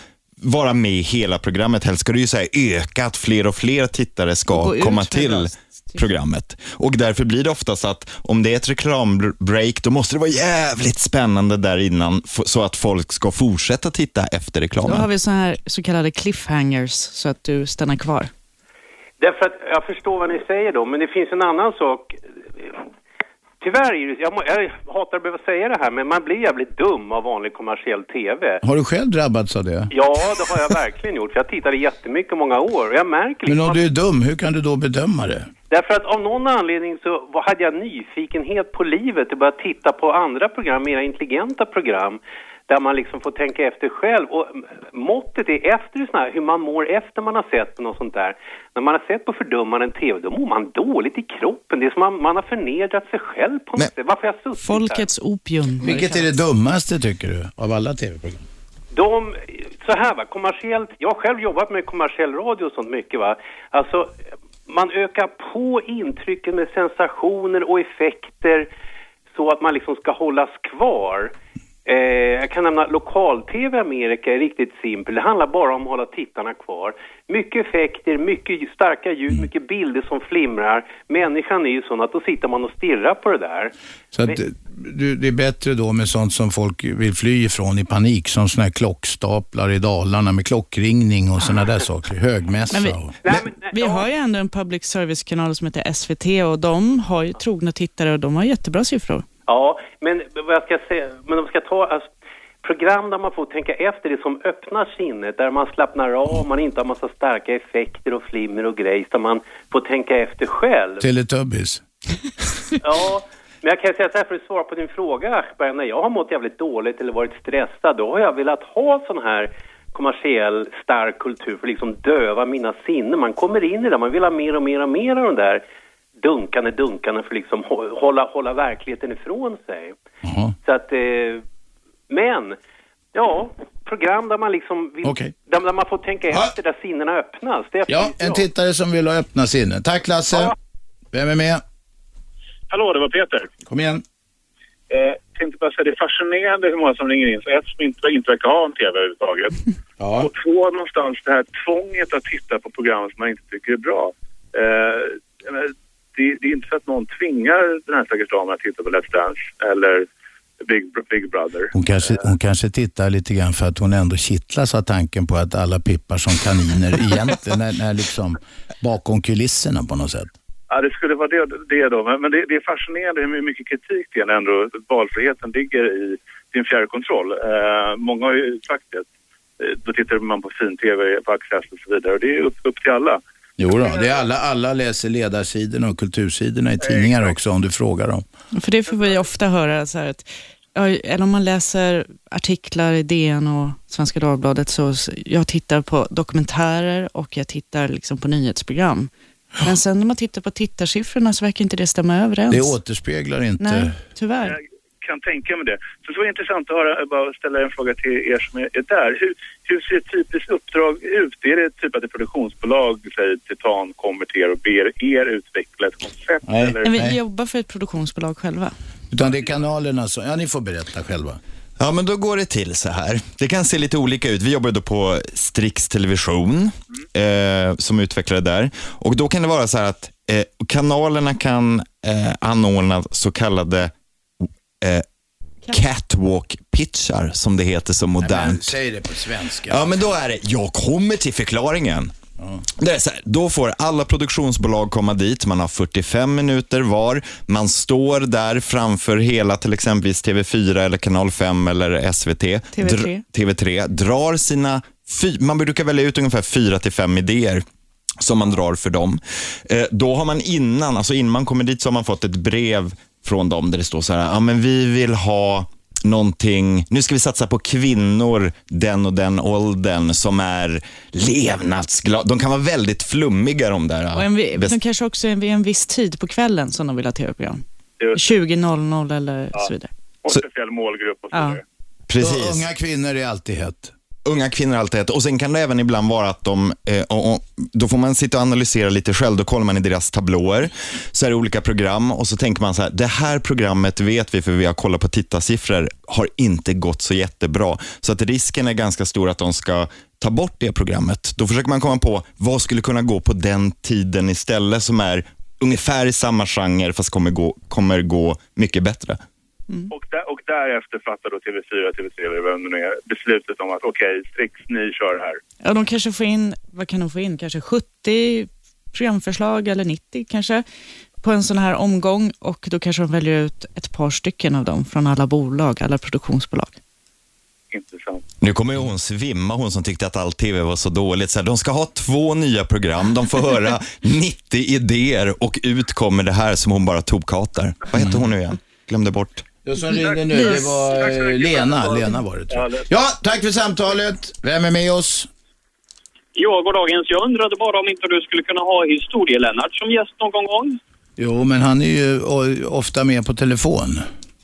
vara med i hela programmet. Helst ska det ju så här öka att fler och fler tittare
Och gå
ska
ut
komma
med
till
rast.
programmet. Och därför blir det oftast att om det är ett reklambreak, då måste det vara jävligt spännande där innan f- så att folk ska fortsätta titta efter
Då
reklamen.
har vi så här så kallade cliffhangers så att du stannar kvar.
Därför att jag förstår vad ni säger då, men det finns en annan sak. Tyvärr, är det- jag, må- jag hatar att behöva säga det här, men man blir jävligt dum av vanlig kommersiell TV.
Har du själv drabbats av det?
Ja, det har jag verkligen gjort. för Jag tittade jättemycket många år och jag märker
Men om du är dum, hur kan du då bedöma det?
Därför att av någon anledning så var- hade jag nyfikenhet på livet och började titta på andra program, mer intelligenta program, där man liksom får tänka efter själv. Och mm, måttet är efter såna här, hur man mår efter man har sett på något sånt där. När man har sett på fördummande TV, då mår man dåligt i kroppen. Det är som man, man har förnedrat sig själv på något sätt. Varför har jag suttit
Folkets opium.
Vilket är det dummaste tycker du, av alla TV-program?
De, så här va, kommersiellt, jag har själv jobbat med kommersiell radio och sånt mycket va. Alltså, man ökar på intrycken med sensationer och effekter så att man liksom ska hållas kvar. Eh, jag kan nämna lokal-tv i Amerika är riktigt simpel. Det handlar bara om att hålla tittarna kvar. Mycket effekter, mycket starka ljud, mycket bilder som flimrar. Människan är ju sån att då sitter man och stirrar på det där.
Så att, du, det är bättre då med sånt som folk vill fly ifrån i panik, som såna här klockstaplar i Dalarna med klockringning och såna där saker, högmässa
Men vi,
och...
vi har ju ändå en public service-kanal som heter SVT och de har ju trogna tittare och de har jättebra siffror.
Ja, men vad jag ska säga, men om jag ska ta, alltså, program där man får tänka efter, det som öppnar sinnet, där man slappnar av, man inte har massa starka effekter och flimmer och grejs, där man får tänka efter själv.
Teletubbies.
Ja, men jag kan säga så här för att svara på din fråga Aschberg, när jag har mått jävligt dåligt eller varit stressad, då har jag velat ha sån här kommersiell stark kultur för att liksom döva mina sinnen. Man kommer in i det, man vill ha mer och mer och mer av den där dunkande, dunkande för att liksom hå- hålla, hålla verkligheten ifrån sig.
Mm-hmm.
Så att, eh, men, ja, program där man liksom vill,
Okej.
där, där man får tänka efter, där sinnena öppnas. Det är
Ja, en tittare som vill ha öppna sinnen. Tack Lasse! Vem är med?
Hallå, det var Peter.
Kom igen.
Eh, tänkte bara säga, det är fascinerande hur många som ringer in. Så ett som inte, inte verkar ha en TV överhuvudtaget. Och två någonstans det här tvånget att titta på program som man inte tycker är bra. Eh, jag menar, det, det är inte så att någon tvingar den här stackars damen att titta på Let's Dance eller Big, Big Brother.
Hon kanske, hon kanske tittar lite grann för att hon ändå kittlas av tanken på att alla pippar som kaniner egentligen är, är liksom bakom kulisserna på något sätt.
Ja, det skulle vara det, det då. Men, men det, det är fascinerande hur mycket kritik det är ändå valfriheten ligger i sin fjärrkontroll. Eh, många har ju sagt det. Eh, Då tittar man på fin-tv, på Access och så vidare. Och det är upp, upp till alla.
Jo då, det är alla, alla läser ledarsidorna och kultursidorna i tidningar också om du frågar dem.
För det får vi ofta höra, så här att, ja, eller om man läser artiklar i DN och Svenska Dagbladet, så så jag tittar på dokumentärer och jag tittar liksom på nyhetsprogram. Men sen när man tittar på tittarsiffrorna så verkar inte det stämma överens.
Det återspeglar inte.
Nej, tyvärr.
kan tänka mig det. Så det var intressant att höra, bara ställa en fråga till er som är är där. Hur, hur ser ett typiskt uppdrag ut? Är det typ att ett produktionsbolag, säg Titan, kommer till er och ber er utveckla ett koncept? eller?
Men vi jobbar för ett produktionsbolag själva.
Utan det är kanalerna som, ja ni får berätta själva.
Ja, men då går det till så här. Det kan se lite olika ut. Vi jobbar då på Strix Television eh, som utvecklare där. Och Då kan det vara så här att eh, kanalerna kan eh, anordna så kallade eh, catwalk-pitchar som det heter så modernt.
Säg det på svenska.
Ja, men då är det, jag kommer till förklaringen. Det är så här, då får alla produktionsbolag komma dit, man har 45 minuter var, man står där framför hela till exempel TV4 eller kanal 5 eller SVT.
TV3.
TV3 drar sina, fy, man brukar välja ut ungefär 4 till 5 idéer som man drar för dem. Eh, då har man innan, alltså innan man kommer dit så har man fått ett brev från dem där det står så här, ja men vi vill ha någonting, nu ska vi satsa på kvinnor den och den åldern som är levnadsglada. De kan vara väldigt flummiga de där. eh,
Och en, vi-
best-
de kanske också är vid en viss tid på kvällen som de vill ha tv-program.
Just.
20.00 eller så vidare.
Och speciell målgrupp och så
Ja.
vidare.
Precis.
Och unga kvinnor är alltid hett.
Unga kvinnor är alltid ett. Och sen kan det även ibland vara att de, eh, och, och, då får man sitta och analysera lite själv. Då kollar man i deras tablåer. Så är det olika program och så tänker man så här, det här programmet vet vi för vi har kollat på tittarsiffror, har inte gått så jättebra. Så att risken är ganska stor att de ska ta bort det programmet. Då försöker man komma på, vad skulle kunna gå på den tiden istället som är ungefär i samma genre fast kommer gå, kommer gå mycket bättre.
Och, där, och därefter fattar då TV4, TV3 eller vem det nu är beslutet om att okej, Strix, ni kör det här.
Ja, de kanske får in, vad kan de få in, kanske 70 programförslag eller 90 kanske på en sån här omgång och då kanske de väljer ut ett par stycken av dem från alla bolag, alla produktionsbolag.
Nu kommer ju hon svimma, hon som tyckte att all TV var så dåligt. Så här, de ska ha två nya program, de får höra 90 idéer och ut kommer det här som hon bara tokhatar. Vad heter hon nu igen? Glömde bort.
Jag som ringde nu, det var eh, Lena. Lena var det tror jag. Ja, tack för samtalet. Vem är med oss?
Ja, god dagens. Jag undrade bara om inte du skulle kunna ha historie-Lennart som gäst någon gång?
Jo, men han är ju o- ofta med på telefon.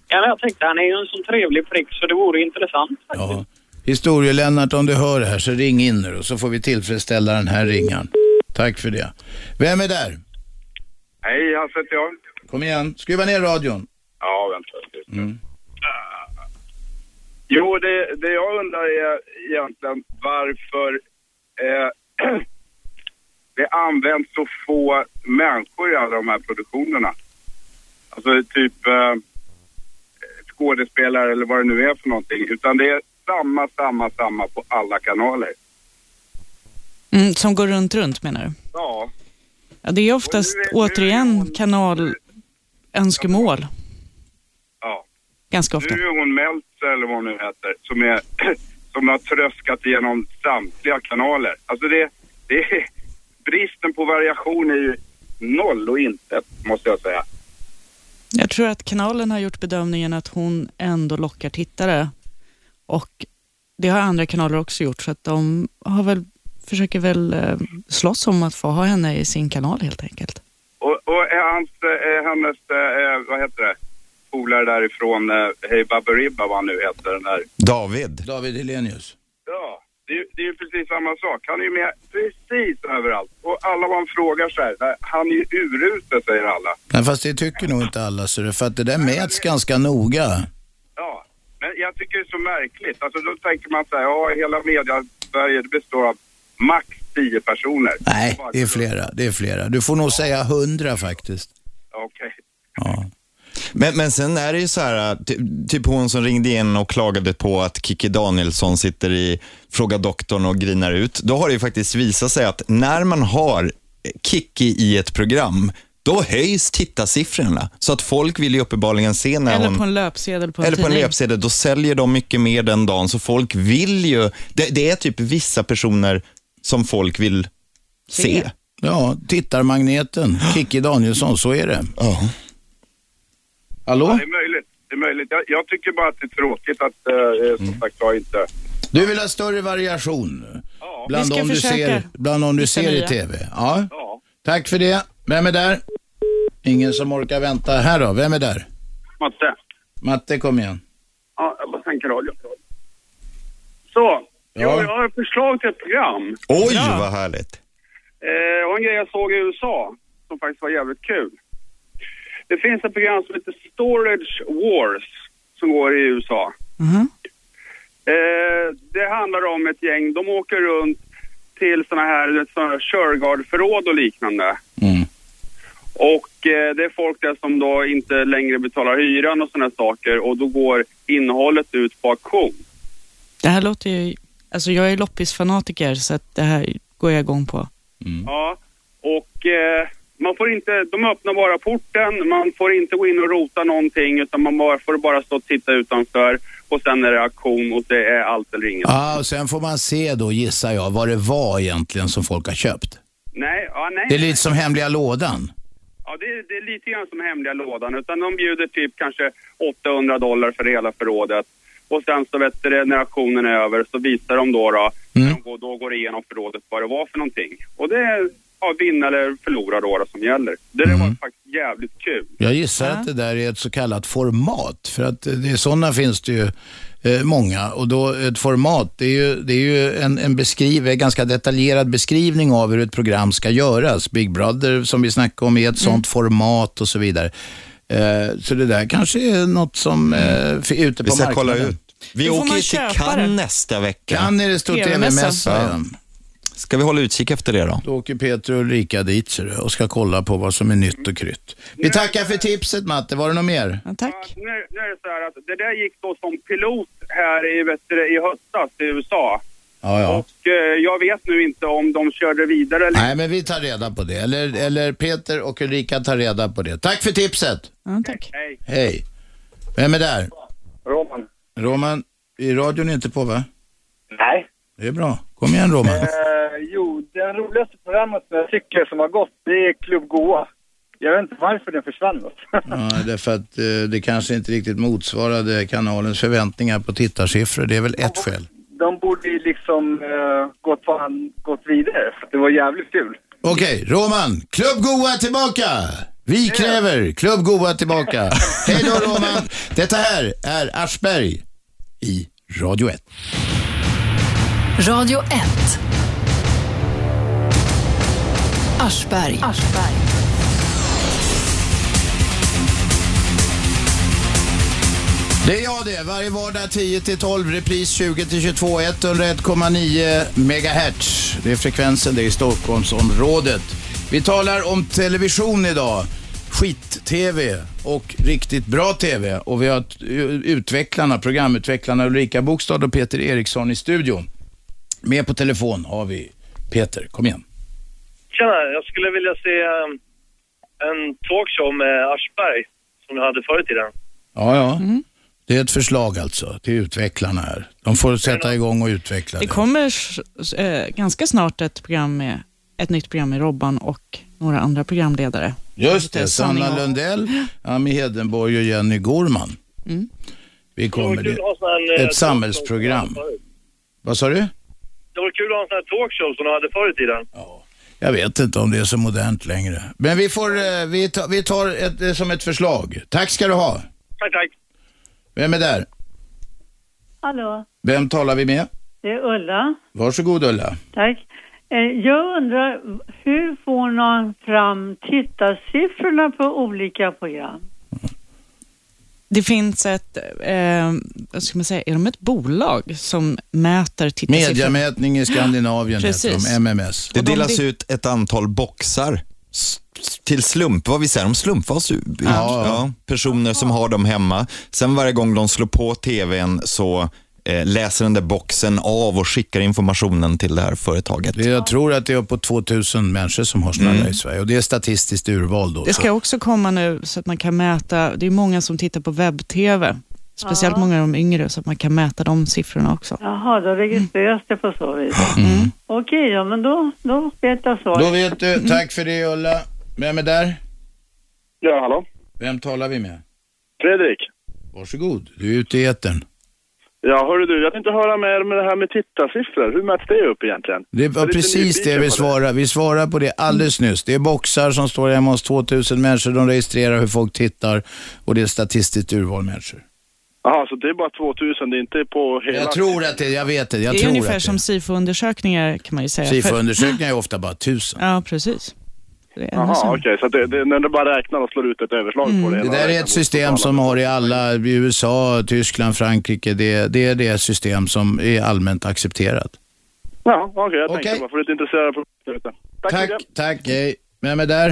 Ja, men jag tänkte han är ju en sån trevlig prick så det vore intressant.
Ja. Historie-Lennart, om du hör det här så ring in nu och så får vi tillfredsställa den här ringaren. Tack för det. Vem är där?
Hej, Hasse heter jag.
Kom igen, skruva ner radion.
Ja, vänta. Ah.
Mm.
Jo, det, det jag undrar är egentligen varför eh, det används så få människor i alla de här produktionerna. Alltså typ eh, skådespelare eller vad det nu är för någonting. Utan det är samma, samma, samma på alla kanaler.
Mm, som går runt, runt menar du?
Ja,
Ja, det är oftast återigen kanalönskemål.
ja.
Ganska ofta.
Nu är hon Meltzer eller vad hon nu heter som, är, som har tröskat igenom samtliga kanaler. Alltså det, det är, bristen på variation är ju noll och intet måste jag säga.
Jag tror att kanalen har gjort bedömningen att hon ändå lockar tittare och det har andra kanaler också gjort så att de har väl, försöker väl eh, slåss om att få ha henne i sin kanal helt enkelt.
Och, och är hans, eh, hennes, eh, vad heter det, polare därifrån, eh, Hej Baberiba vad han nu heter, den där.
David.
David Helenius.
Ja, det, är ju- det är ju precis samma sak. Han är ju med precis överallt. Och alla man frågar så här, "Nej, han är ju urusel säger alla.
Nej, fast det tycker nog inte alla, så det, för att det där mäts ganska noga.
Ja, men jag tycker det är så märkligt. Alltså då tänker man så här, ja hela media Sverige det består av max 10 personer.
Nej, det är flera. Det är flera. Du får nog säga hundra faktiskt.
Okej.
Men, men sen är det ju så här, ty- typ hon som ringde in och klagade på att Kiki Danielsson sitter i Fråga doktorn och grinar ut. Då har det ju faktiskt visat sig att när man har Kiki i ett program, då höjs tittarsiffrorna. Så att folk vill ju uppenbarligen se när
Eller
hon...
på en löpsedel på en
Eller på en
tidning.
löpsedel, då säljer de mycket mer den dagen. Så folk vill ju, det, det är typ vissa personer som folk vill se.
Se. Ja, tittarmagneten. Kikki Danielsson, så är det.
Ja.
Hallå?
Det är möjligt. Det är möjligt. Jag, jag tycker bara att det är tråkigt att, eh,
Mm.
som sagt var, inte...
Du vill ha större variation bland,
Vi ska
de du
försöka
ser, bland de du
hitta
ser i
nya.
tv? Ja. Tack för det. Vem är där? Ingen som orkar vänta. Här då, vem är där?
Matte.
Matte, kom igen.
Ja, jag bara sänker radion. Så, jag, jag har ett förslag till ett program.
Oj, vad härligt.
Eh, och en grej jag såg i USA som faktiskt var jävligt kul. Det finns ett program som heter Storage Wars som går i USA.
Mm-hmm.
Eh, det handlar om ett gäng, de åker runt till såna här, du vet, såna här Shergard-förråd och liknande. Och eh, det är folk där som då inte längre betalar hyran och såna här saker och då går innehållet ut på auktion.
Det här låter ju... Alltså jag är loppisfanatiker så att det här går jag igång på.
Mm.
Ja, och eh, man får inte, de öppnar bara porten, man får inte gå in och rota någonting utan man bara, får bara stå och titta utanför och sen är det auktion och det är allt eller inget.
Ja, och sen får man se då, gissar jag, vad det var egentligen som folk har köpt.
Nej, ja, nej.
Det är lite som hemliga lådan.
Ja, det, är- det är lite grann som hemliga lådan utan de bjuder typ kanske 800 dollar för hela förrådet. Och sen så vet du, det, när auktionen är över så visar de då, då
Mm.
när de går, då går det igenom förrådet vad det var för någonting. Och det är ja, vinna eller förlora då, då som gäller. Det, det
Mm.
var faktiskt jävligt kul.
Jag gissar att det där är ett så kallat format, för att eh, det är sådana finns det ju eh, många. Och då ett format, det är ju, det är ju en, en, beskriv, en ganska detaljerad beskrivning av hur ett program ska göras. Big Brother som vi snackade om är ett sådant format och så vidare. Eh, så det där kanske är något som eh, f- är ute på
Vi ska
marknaden.
kolla ut. Vi åker ju till Cannes nästa vecka.
Cannes är det stor TV-mässa, ja.
Ska vi hålla utkik efter det då?
Då åker Peter och Ulrika dit ser du, och ska kolla på vad som är nytt och krytt. Vi tackar för tipset Matte, var det något mer?
Tack.
Nu, är- nu är det så här att det där gick då som pilot här i, vet du, i höstas i USA.
Ja, ja.
Och, eh, jag vet nu inte om de körde vidare eller
Nej, men vi tar reda på det. Eller, eller Peter och Ulrika tar reda på det. Tack för tipset.
Ja, tack.
Hej.
Hej. Vem är där?
Roman.
Roman, i radion är inte på va?
Nej.
Det är bra. Kom igen Roman.
Eh, jo, det roligaste programmet som jag tycker som har gått, det är Klubb Goa. Jag vet inte varför den försvann. Alltså.
Ja, därför att eh, det kanske inte riktigt motsvarade kanalens förväntningar på tittarsiffror. Det är väl ett skäl.
De borde ju liksom eh, gått, fan, gått vidare, för det var jävligt kul.
Okej, Roman. Klubb Goa tillbaka! Vi kräver Klubb Goa tillbaka. Hej då Roman. Detta här är Aschberg i Radio 1.
Radio 1. Aschberg.
Det är jag det. Varje vardag 10 till 12, repris 20 till 22, 101,9 megahertz. Det är frekvensen det är i Stockholmsområdet. Vi talar om television idag. Skit-TV och riktigt bra TV. Och vi har t- utvecklarna, programutvecklarna Ulrika Bokstad och Peter Eriksson i studion. Med på telefon har vi Peter. Kom igen.
Tjena, jag skulle vilja se eh, en talkshow med Aschberg som jag hade förr i tiden.
Ja, ja. Mm. Det är ett förslag alltså till utvecklarna här. De får sätta igång och utveckla
Det
det.
kommer s- s- eh, ganska snart ett, program med, ett nytt program med Robban och några andra programledare.
Just det,
Sanning
Sanna
och-
Lundell, Ami Hedenborg och Jenny Gorman.
Mm.
Vi kommer
kul
det.
att ha sån här, eh,
Ett samhällsprogram. Vad sa du?
Det vore kul att ha en sån här talkshow som de hade förr i tiden.
Jag vet inte om det är så modernt längre. Men vi, får, eh, vi tar, vi tar ett, det som ett förslag. Tack ska du ha.
Tack, tack.
Vem är där?
Hallå,
Vem talar vi med?
det är Ulla.
Varsågod Ulla.
Tack. Eh, Jag undrar, hur får man fram tittarsiffrorna på olika program?
Det finns ett, eh, vad ska man säga, är de ett bolag som mäter tittarsiffror?
Mediamätning i Skandinavien
Precis.
heter de, MMS.
Det
Och de
delas
li-
ut ett antal boxar s- s- till slump, vad vi säger, de slumpas ut. Ja. personer som har dem hemma. Sen varje gång de slår på tvn så eh, läser den där boxen av och skickar informationen till det här företaget.
Jag tror att det är uppåt 2000 människor som har sådana där i Sverige och det är statistiskt urval då.
Mm. Det ska också komma nu så att man kan mäta, det är många som tittar på webb-tv, speciellt
Ja.
många av de yngre, så att man kan mäta de siffrorna också.
Jaha, då registreras det på så vis. Okej, ja men då, då vet jag svaret.
Mm. Då vet
Mm.
du. Tack för det Ulla. Vem är där?
Ja, hallå?
Vem talar vi med?
Fredrik.
Varsågod, du är ute i etern.
Ja, hörru du, jag tänkte höra med er med det här med tittarsiffror. Hur mäts det upp egentligen?
Det
Jag
var
är lite
precis det
nyfiken
vi
på Mm.
svarade. Vi svarade på det alldeles nyss. Det är boxar som står hemma hos 2000 människor. De registrerar hur folk tittar och det är statistiskt urval människor.
Jaha, så det är bara 2000, det är inte på hela...
Jag tror att det, jag vet det. Jag
det är
tror
ungefär
att
som SIFO-undersökningar kan man ju säga.
SIFO-undersökningar är ofta bara 1000.
Ja, precis. Det är ännu
Jaha,
sämre.
okej, så Mm. att det, det, när du bara räknar och slår ut ett överslag på det
Det
hela
där är
vägen.
ett system som har i alla, i USA, Tyskland, Frankrike. Det, det är det system som är allmänt accepterat.
Ja, okej, jag tänkte bara, för lite intresserad på Tack,
Tack, tack hej. Vem är där?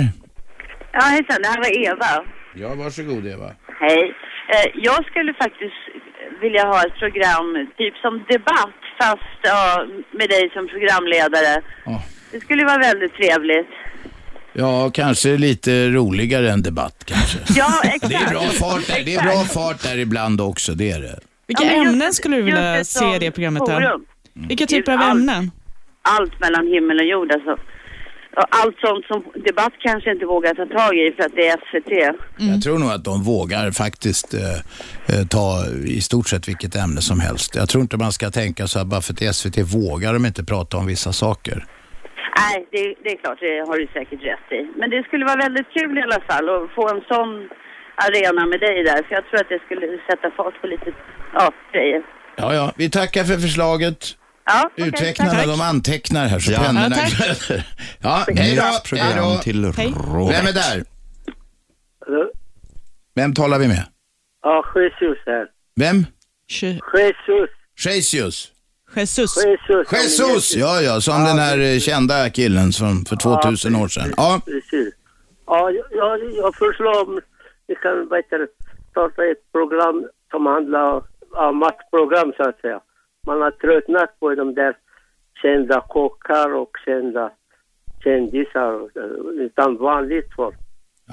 Ja, hejsan, det här var Eva.
Ja, varsågod Eva.
Hej. Eh, jag skulle faktiskt vilja ha ett program, typ som Debatt, fast ja, med dig som programledare. Det skulle vara väldigt trevligt.
Ja, kanske lite roligare än debatt kanske.
Ja, exakt.
Det är bra fart där, det är bra fart där ibland också, det är det.
Vilka
Ja, men just-
ämnen skulle du vilja
just ett
se i det programmet? Där?
forum.
Vilka typer
Just
av
allt-
ämnen?
Allt mellan himmel och jord alltså. Och Allt sånt som Debatt kanske inte vågar ta tag i för att det är SVT.
Jag tror nog att de vågar faktiskt eh, eh, ta i stort sett vilket ämne som helst. Jag tror inte man ska tänka så här bara för att SVT vågar de inte prata om vissa saker.
Nej, det, det är klart, det har du säkert rätt i. Men det skulle vara väldigt kul i alla fall att få en sån arena med dig där, för jag tror att det skulle sätta fart på lite, ja, grejer.
Ja, ja, vi tackar för förslaget.
Ja, okej,
Utvecklarna,
tack.
de antecknar här så
Ja.
pennorna
Ja, tack.
glöder. Ja, hej då.
Nytt program
hej då.
till Hej. Robert.
Vem är där? Vem talar vi med?
Ja, Jesus här.
Vem?
Jesus.
Jesus.
Jesus.
Jesus.
Jesus! Ja, ja, som den här eh, kända killen som för 2000 år sedan. Ja,
Precis. Ja, jag, jag föreslår om vi kan vad heter det, starta ett program som handlar om matprogram så att säga. Man har tröttnat på de där kända kockar och kända kändisar eh, utan vanligt folk.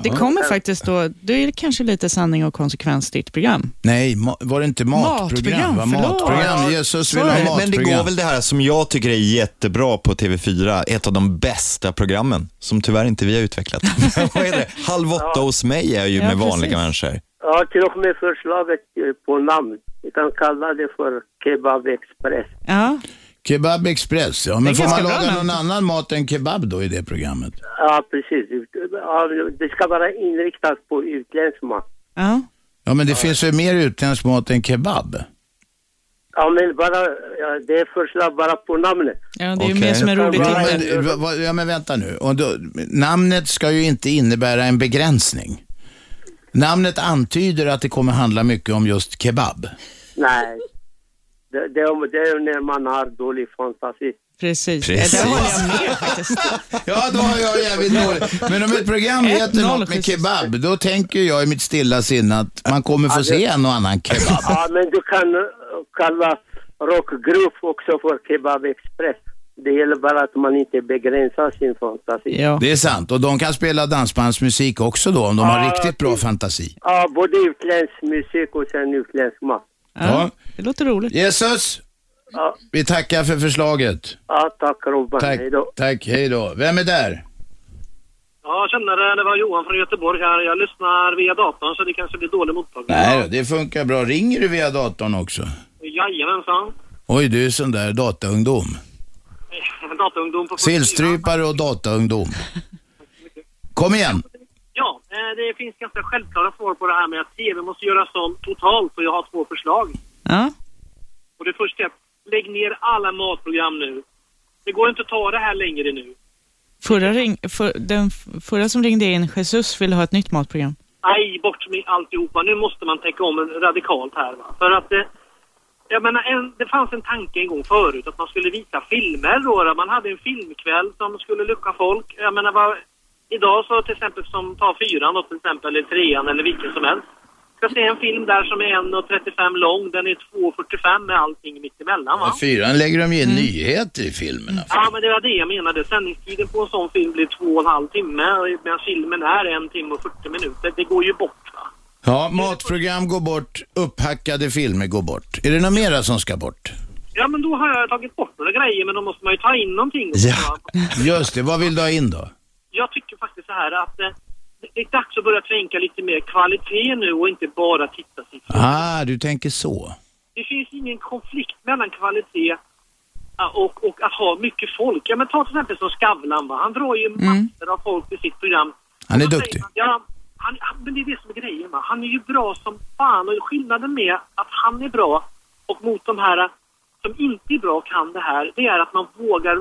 Det kommer faktiskt då, då är det kanske lite sanning och konsekvens ditt program.
nej, ma- var det inte matprogram?
Matprogram,
va?
förlåt.
matprogram. Jesus vill ha
men,
matprogram.
men det går väl det här som jag tycker är jättebra på TV4, ett av de bästa programmen som tyvärr inte vi har utvecklat. Vad är det? Halv åtta hos mig är ju
Ja,
med vanliga
precis.
människor.
Ja, till och med förslaget eh, på namn. Vi kan kalla det för Kebab Express.
Ja.
Kebab Express, ja.
Det
Men
är
får man
ganska bra
laga
namn.
någon annan mat än kebab då i det programmet?
Ja, precis. Ja, Det ska vara inriktat på utländsk mat.
Ja.
Ja, men det finns väl mer utländsk mat än kebab?
Ja, men bara, ja, det är förslag bara på namnet.
Ja, det
Okej. ja, men, eh, va- va- ja, men vänta nu. Och då, namnet ska ju inte innebära en begränsning. Namnet antyder att det kommer handla mycket om just kebab.
Nej. Det, det, är- det är när man har dålig fantasi.
Precis.
Precis.
Det håller jag med faktiskt.
Ja, då har jag jävligt dåligt. Men om ett program heter något med kebab, då tänker jag i mitt stilla sinne att man kommer få se en och annan kebab.
Ja, men du kan eh, kalla rockgrupp också för Kebab Express. Det gäller bara att man inte begränsar sin fantasi.
Det är sant. Och de kan spela dansbandsmusik också då, om de har
Ja,
riktigt bra fantasi.
Ja, både utländsk musik och sen utländsk mat.
Ja.
Det låter roligt.
Jesus!
Ja,
Vi tackar för förslaget.
ja tack Robban.
Tack,
Hej då.
tack, hej då. Vem är där?
Ja, jag känner det. Det var Johan från Göteborg här. Jag lyssnar via datorn så det kanske blir dålig mottagning.
Nej då, det funkar bra. Ringer du via datorn också?
Jajamensan.
Oj, du är sån där dataungdom.
Eh, Dataungdom på 44.
Sillstrypare och dataungdom. Kom igen.
Ja, eh, det finns ganska självklara svar på det här med att TV måste göras om totalt och jag har två förslag.
Ja.
Och det första är lägg ner alla matprogram nu. Det går inte att ta det här längre nu.
Förra, ring, för, den f- förra som ringde in, Jesus, ville ha ett nytt matprogram.
Aj, bort med alltihopa. Nu måste man tänka om radikalt här. Va? För att, eh, jag menar, en, det fanns en tanke en gång förut att man skulle visa filmer då. Där man hade en filmkväll som skulle lucka folk. Jag menar, vad, idag så till exempel som ta fyran då till exempel, eller trean eller vilken som helst. ska se en film där som är 1.35 lång. Den är 2.45 med allting mittemellan va?
Fyran lägger de ju in
Mm.
nyheter i filmerna.
Ja, men det var det jag menade. Sändningstiden på en sån film blir två och en halv timme, medan filmen är en timme och 40 minuter. Det går ju bort.
Ja, matprogram går bort, upphackade filmer går bort. Är det något mera som ska bort?
Ja, men då har jag tagit bort några grejer, men då måste man ju ta in någonting.
Ja. Just det, vad vill du ha in då?
Jag tycker faktiskt så här att eh, det är dags att börja tänka lite mer kvalitet nu och inte bara titta sig.
Ah, du tänker så.
Det finns ingen konflikt mellan kvalitet eh, och, och att ha mycket folk. Ja, men ta till exempel som Skavlan, va? han drar ju massor av folk till sitt program.
Han är
Och då
duktig.
duktig.
säger man, Ja, han, han, men det är det som är grejen. Va? Han är ju bra som fan och skillnaden med att han är bra och mot de här som inte är bra kan det här, det är att man vågar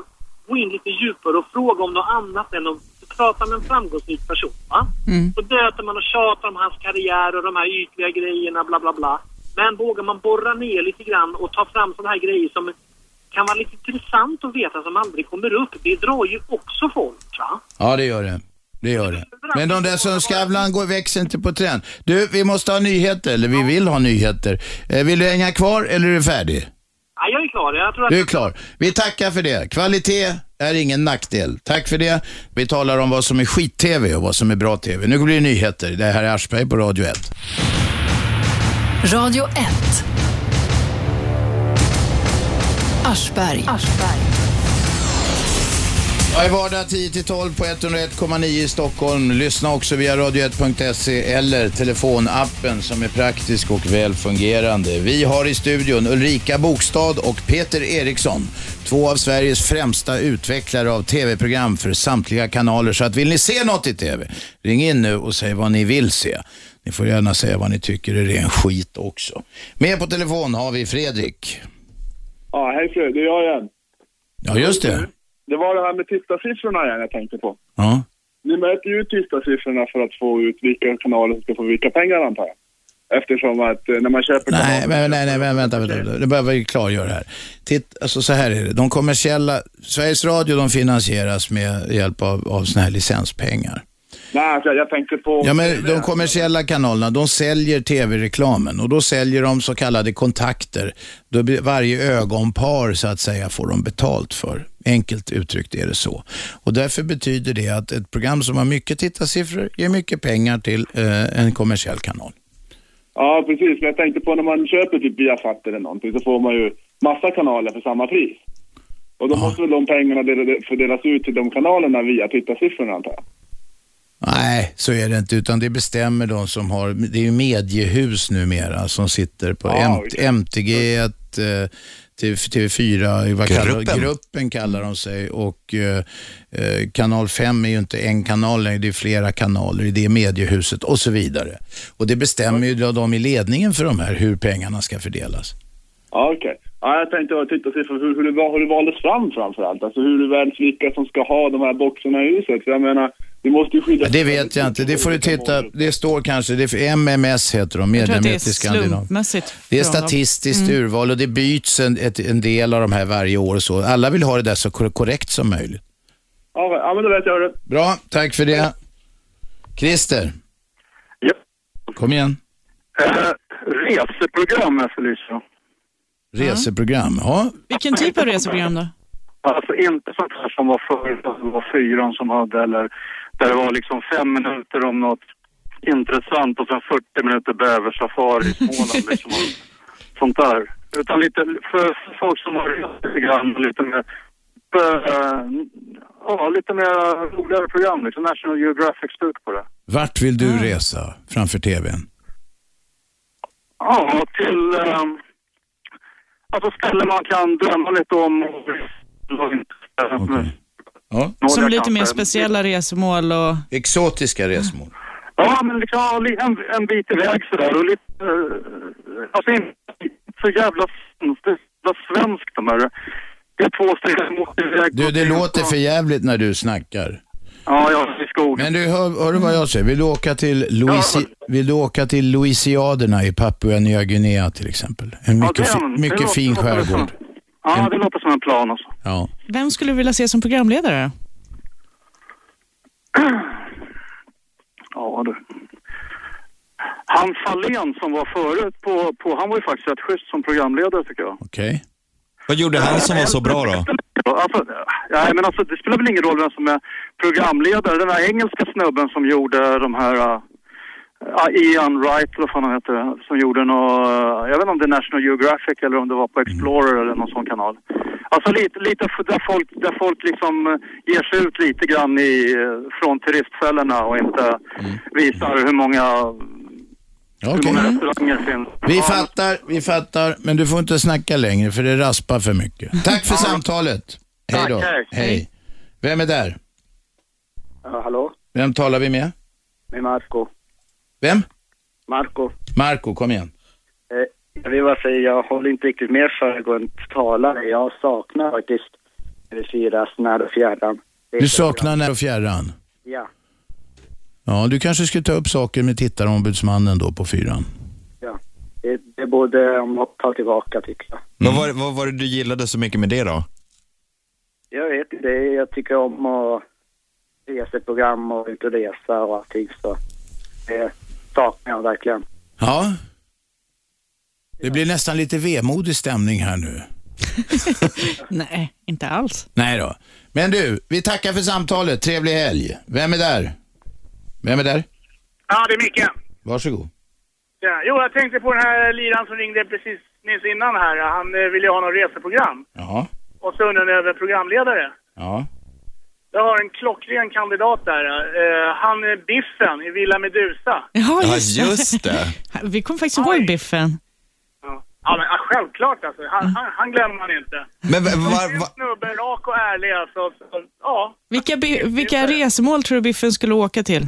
gå in lite djupare och fråga om något annat än att prata med en framgångsrik person. Va?
Mm.
Så döter man och tjatar om hans karriär och de här ytliga grejerna, bla bla bla. Men vågar man borra ner lite grann och ta fram sådana här grejer som kan vara lite intressant att veta som aldrig kommer upp, det drar ju också folk. Va?
Ja, det gör det. Det gör det. Men de där som Skavlan går växer inte på trend. Du, vi måste ha nyheter, eller vi vill ha nyheter. Eh, Vill du hänga kvar eller är du färdig?
Ja, jag är klar. Jag tror att
Du är klar. Vi tackar för det. Kvalitet är ingen nackdel. Tack för det. Vi talar om vad som är skit-tv och vad som är bra tv. Nu blir det nyheter. Det här är Aschberg på Radio 1.
Radio 1. Aschberg.
Jag är vardag 10-12 på 101,9 i Stockholm. Lyssna också via radio1.se eller telefonappen som är praktisk och väl fungerande. Vi har i studion Ulrika Bokstad och Peter Eriksson. Två av Sveriges främsta utvecklare av tv-program för samtliga kanaler. Så att vill ni se något i tv, ring in nu och säg vad ni vill se. Ni får gärna säga vad ni tycker är ren skit också. Med på telefon har vi Fredrik.
Ja, hej Fred, det är jag igen.
Ja, just det.
Det var det här med tittarsiffrorna igen jag tänkte på.
Ja.
Ni mäter ju tittarsiffrorna för att få ut vilka kanaler som ska få vilka pengar antar jag. Eftersom att eh, när man köper
Nej, men, nej, nej, men vänta, vänta, vänta. Det behöver vi klargöra här. Titt, alltså så här är det. De kommersiella, Sveriges Radio de finansieras med hjälp av, av såna här licenspengar.
Nej, alltså, jag, jag tänkte på...
Ja, men de kommersiella kanalerna, de säljer tv-reklamen och då säljer de så kallade kontakter. Då blir varje ögonpar så att säga får de betalt för. Enkelt uttryckt är det så. Och därför betyder det att ett program som har mycket tittarsiffror ger mycket pengar till eh, en kommersiell kanal.
Ja, precis. Men jag tänkte på när man köper typ Viasat eller någonting så får man ju massa kanaler för samma pris. Och då måste väl de pengarna del- fördelas ut till de kanalerna via tittarsiffrorna antar jag.
Nej, så är det inte, utan det bestämmer de som har, det är ju mediehus numera som sitter på M- MTG, ett, eh, TV, TV4, vad kallar,
Gruppen.
gruppen kallar de sig och eh, eh, kanal 5 är ju inte en kanal längre, det är flera kanaler i det mediehuset och så vidare. Och det bestämmer ju då de i ledningen för de här hur pengarna ska fördelas.
Ja, okej. Ja, jag tänkte bara tittarsiffror, hur, hur, det var- hur det valdes fram framför allt. Alltså hur det väljs vilka som ska ha de här boxarna i huset. För jag menar, vi måste ju skydda...
Ja, det vet jag inte, det får du titta, det står kanske, det är MMS heter de,
Jag tror att det är
Mediemet i Skandinavien.
slumpmässigt.
Det är
från dem.
statistiskt
Mm.
urval och det byts en, ett, en del av de här varje år och så. Alla vill ha det där så kor- korrekt som möjligt.
Ja, ja, men då vet jag det.
Bra, tack för det. Christer. Kom igen.
Eh, reseprogram efterlyser jag.
Reseprogram. Ja,
Vilken typ av reseprogram då?
Alltså inte sånt här som var förr, utan det var fyran som hade eller där det var liksom fem minuter om något intressant och sen 40 minuter bäversafari i Småland. liksom, och sånt där. Utan lite för för folk som har rest lite grann och lite mer eh, Ja, lite mer roligare program liksom. National Geographic slut på det.
vart vill du resa framför tvn?
Ja, till um, alltså ställen man kan drömma lite om och inte
Ja.
Som lite mer speciella resmål och...
Exotiska resmål.
Ja, men liksom ja, li- en, en bit iväg sådär och lite... eh, alltså inte så jävla svenskt. Det är så jävla svenskt de här. Det är två stycken som åkte iväg.
Du, det låter för jävligt när du snackar.
Ja, jag i skogen.
Men du, hör, hör du vad jag säger? Vill du åka till, Louisi- vill du åka till Louisiaderna i Papua Nya Guinea till exempel? En mycket,
den.
fi-
Det
mycket
låter
fin
som en-
skärgård.
Ja, det låter som en plan alltså.
Ja.
Vem skulle du vilja se som programledare?
Ja, du.
Han Fahlén som var förut på, på, han var ju faktiskt rätt schysst som programledare tycker jag.
Okej. Mm.
Vad gjorde han som var så bra då?
Alltså, nej, men alltså, det spelar väl ingen roll vem som är programledare. Den här engelska snubben som gjorde de här... eh, ah, Ian Wright, eller vad fan han heter, som gjorde nå, eh, jag vet inte om det är National Geographic eller om det var
Mm.
på Explorer eller någon sån kanal. Alltså lite, lite f- där folk, där folk liksom eh, ger sig ut lite grann i, eh, från turistfällorna och inte
Mm.
visar hur många, hur många restauranger finns.
Mm. Vi fattar, vi fattar, men du får inte snacka längre för det raspar för mycket. Tack för samtalet. Hej då.
Tackar.
Hej. Vem är där?
Ja, hallå?
Vem talar vi med?
Med Marco.
Vem?
Marco,
Marco, kom igen.
eh, jag vill bara säga jag håller inte riktigt med föregående talare. Jag saknar faktiskt TV4s När och fjärran. Det är
Du
ett
saknar när och fjärran.
program. Ja,
Ja, du kanske skulle ta upp saker med tittarombudsmannen då på fyran.
ja. Det, det borde de ta tillbaka tycker jag.
Vad, var, vad var det du gillade så mycket med det då?
Jag vet inte, det- jag tycker om att reseprogram och ut och resa och allting så det saknar jag verkligen.
Ja. Det blir nästan lite vemodig stämning här nu.
Nej, inte alls.
Nej då. Men du, vi tackar för samtalet. Trevlig helg. Vem är där? Vem är där?
Ja, det är Micke.
Varsågod.
Ja, jo, jag tänkte på den här liran som ringde precis nyss innan här. Han eh, ville ju ha något reseprogram.
Ja.
Och så undrade han över programledare.
Ja.
Jag har en klockren kandidat där. Eh, han är Biffen i Villa Medusa.
Ja, just, Vi kommer faktiskt ihåg Biffen.
Ja, men ja, självklart alltså. Han,
Mm.
han, han glömmer man inte.
Men va,
En snubbe, rak och ärlig alltså. Så, ja,
Vilka, bi- vilka resmål tror du Biffen skulle åka till?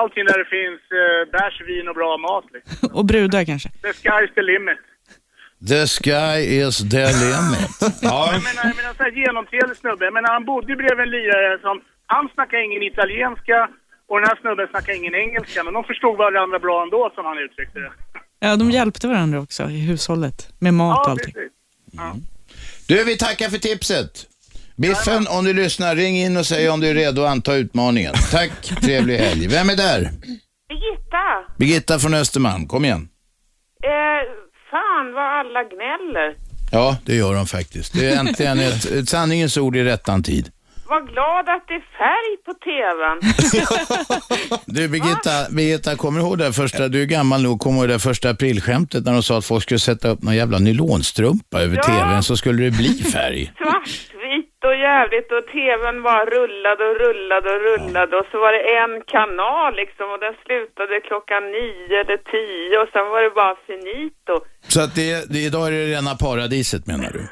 allting där det finns eh, bärs, vin och bra mat liksom.
Och brudar kanske?
The sky's the limit.
The sky is the limit. Ja.
Jag menar, jag menar så här genomtrevlig snubbe. Jag menar, han bodde ju bredvid en lirare som... Han snackade ingen italienska och den här snubben snackade ingen engelska. Men de förstod varandra bra ändå, som han uttryckte det.
Ja, de hjälpte varandra också i hushållet med mat och
Ja,
allting. Mm.
precis.
Du, vi tackar för tipset. Biffen, om du lyssnar, ring in och säg om du är redo att anta utmaningen. Tack, trevlig helg. Vem är där?
Birgitta,
Birgitta från Östermalm, kom igen.
eh, fan vad alla gnäller.
Ja, det gör de faktiskt. Det är äntligen ett, ett sanningens ord i rättan tid.
Var glad att det är färg på TVn.
Du Birgitta, Birgitta kommer du ihåg det där första, du är gammal nog, kommer du ihåg det där första aprilskämtet när de sa att folk skulle sätta upp någon jävla nylonstrumpa över
Ja.
tvn så skulle det bli färg.
Svartvitt och jävligt och TVn bara rullade och rullade och rullade och så var det en kanal liksom och den slutade klockan nio eller tio och sen var det bara finito.
Så att det, det, idag är det rena paradiset menar du?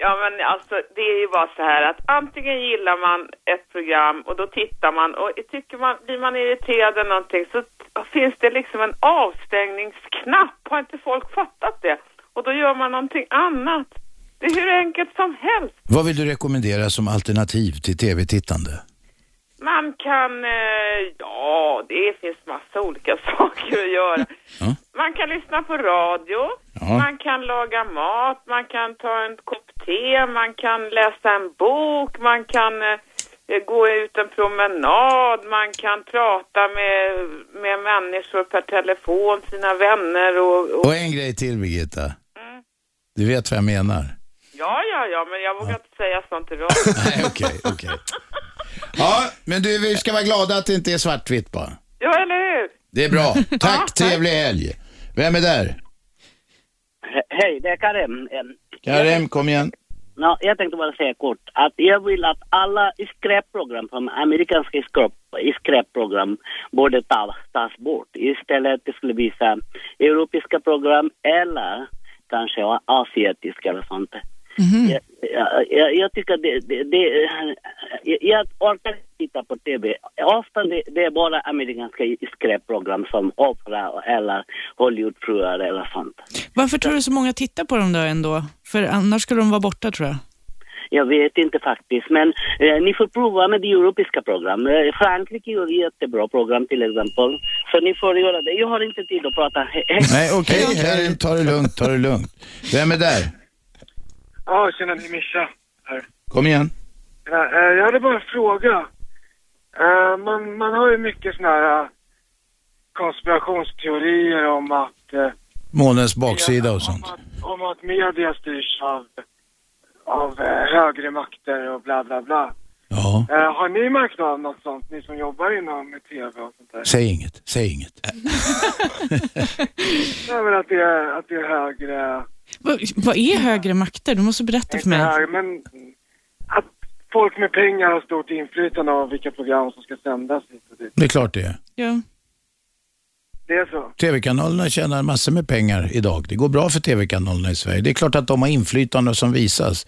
Ja men alltså det är ju bara så här att antingen gillar man ett program och då tittar man och tycker man, blir man irriterad eller någonting så finns det liksom en avstängningsknapp. Har inte folk fattat det? Och då gör man någonting annat. Det är hur enkelt som helst.
Vad vill du rekommendera som alternativ till tv-tittande?
Man kan, eh, ja, det finns massa olika saker att göra. Man kan lyssna på radio, man kan laga mat, man kan ta en kopp te, man kan läsa en bok, man kan eh, gå ut en promenad, man kan prata med, med människor per telefon, sina vänner och, och
Och en grej till Birgitta. Du vet vad jag menar?
ja, ja, ja, men jag vågar inte säga sånt i radio.
Nej, okej, okej. Ja, men du, vi ska vara glada att det inte är svartvitt bara.
Ja, eller hur?
Det är bra. Tack, trevlig helg. Vem är där?
He- Hej, det är Karim. Eh,
Karim, kom igen.
nå, jag tänkte bara säga kort att jag vill att alla skräpprogram, som amerikanska skräp- skräpprogram, borde ta, tas bort. Istället skulle vi visa europeiska program eller kanske asiatiska eller sånt. Jag, jag- jag, jag tycker det, det, det jag, jag orkar inte titta på TV. Ofta det, det är bara amerikanska skräpprogram som opera eller Hollywoodfruar eller sånt.
Varför tror du så många tittar på dem då ändå? För annars skulle de vara borta tror jag.
Jag vet inte faktiskt, men eh, ni får prova med det europeiska program. Eh, Frankrike gör jättebra program till exempel. Så ni får göra det. Jag har inte tid att prata. He- he-
Nej, okej, Karim, ta det lugnt, ta det lugnt. Vem är där?
Ja, tjena, det är Mischa här.
Kom igen.
Ja, eh, jag hade bara en fråga. Eh, man, man har ju mycket sådana här eh,
konspirationsteorier om att, eh,
Månens baksida och sånt.
om att media styrs av, av eh, högre makter och bla bla bla.
Ja.
Eh, har ni märkt av något sånt, ni som jobbar inom TV och sånt där?
Säg inget, säg inget.
Nej, men att det är, att det är högre...
Vad, vad är högre makter? Du måste berätta för
Inte
mig.
här, men att folk med pengar har stort inflytande av vilka program som ska sändas hit och dit.
Det är klart det är.
Ja.
Det är så.
TV-kanalerna tjänar massor med pengar idag. Det går bra för TV-kanalerna i Sverige. Det är klart att de har inflytande som visas.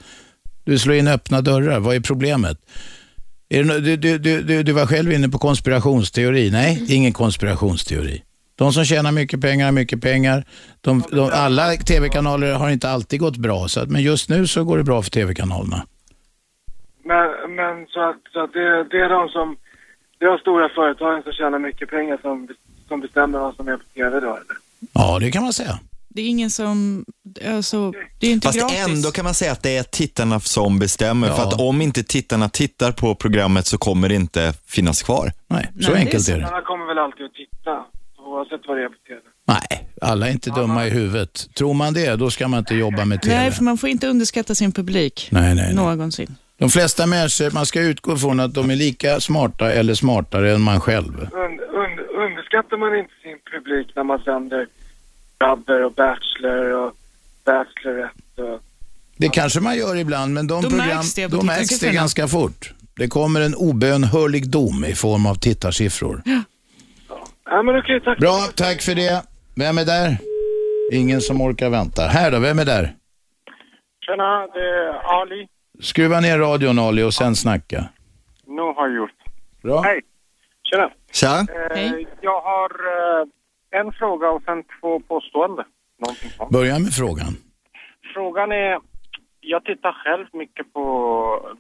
Du slår in öppna dörrar. Vad är problemet? Är det, nå- du, du, du, du, du var själv inne på konspirationsteori. Nej, det är ingen konspirationsteori. De som tjänar mycket pengar har mycket pengar. De, de, alla TV-kanaler har inte alltid gått bra, så att, men just nu så går det bra för TV-kanalerna.
Men, men så att, så att det, det är de som, det är de stora företagen som tjänar mycket pengar som, som bestämmer vad som är på TV då eller?
Ja, det kan man säga.
Det är ingen som... Alltså, det är inte
Fast
gratis.
ändå kan man säga att det är tittarna som bestämmer. För att om inte tittarna tittar på programmet så kommer det inte finnas kvar.
Nej, så enkelt är det.
Alla kommer väl alltid att titta, oavsett vad det är på TV.
Nej, alla är inte dumma i huvudet. Tror man det, då ska man inte jobba med TV.
Nej, för man får inte underskatta sin publik.
Nej, nej, nej.
Någonsin.
De flesta människor, man ska utgå från att de är lika smarta eller smartare än man själv.
Und, und, underskattar man inte sin publik när man sänder Rubber och Bachelor och Bachelorette och...
Det kanske man gör ibland, men de
Då
program,
märks det på
då märks det
tittarsiffrorna.
ganska fort. Det kommer en obönhörlig dom i form av tittarsiffror.
Ja men okej, tack.
Bra, tack för det. Vem är där? Ingen som orkar vänta. Här då, vem är där?
Tjena, det är Ali.
Skruva ner radion Ali och sen snacka.
Nu har jag gjort.
Bra.
Hej. Tjena.
Tja.
Eh, Jag har eh, en fråga och sen två påståenden. Någonting sånt.
Börja med frågan.
Frågan är, jag tittar själv mycket på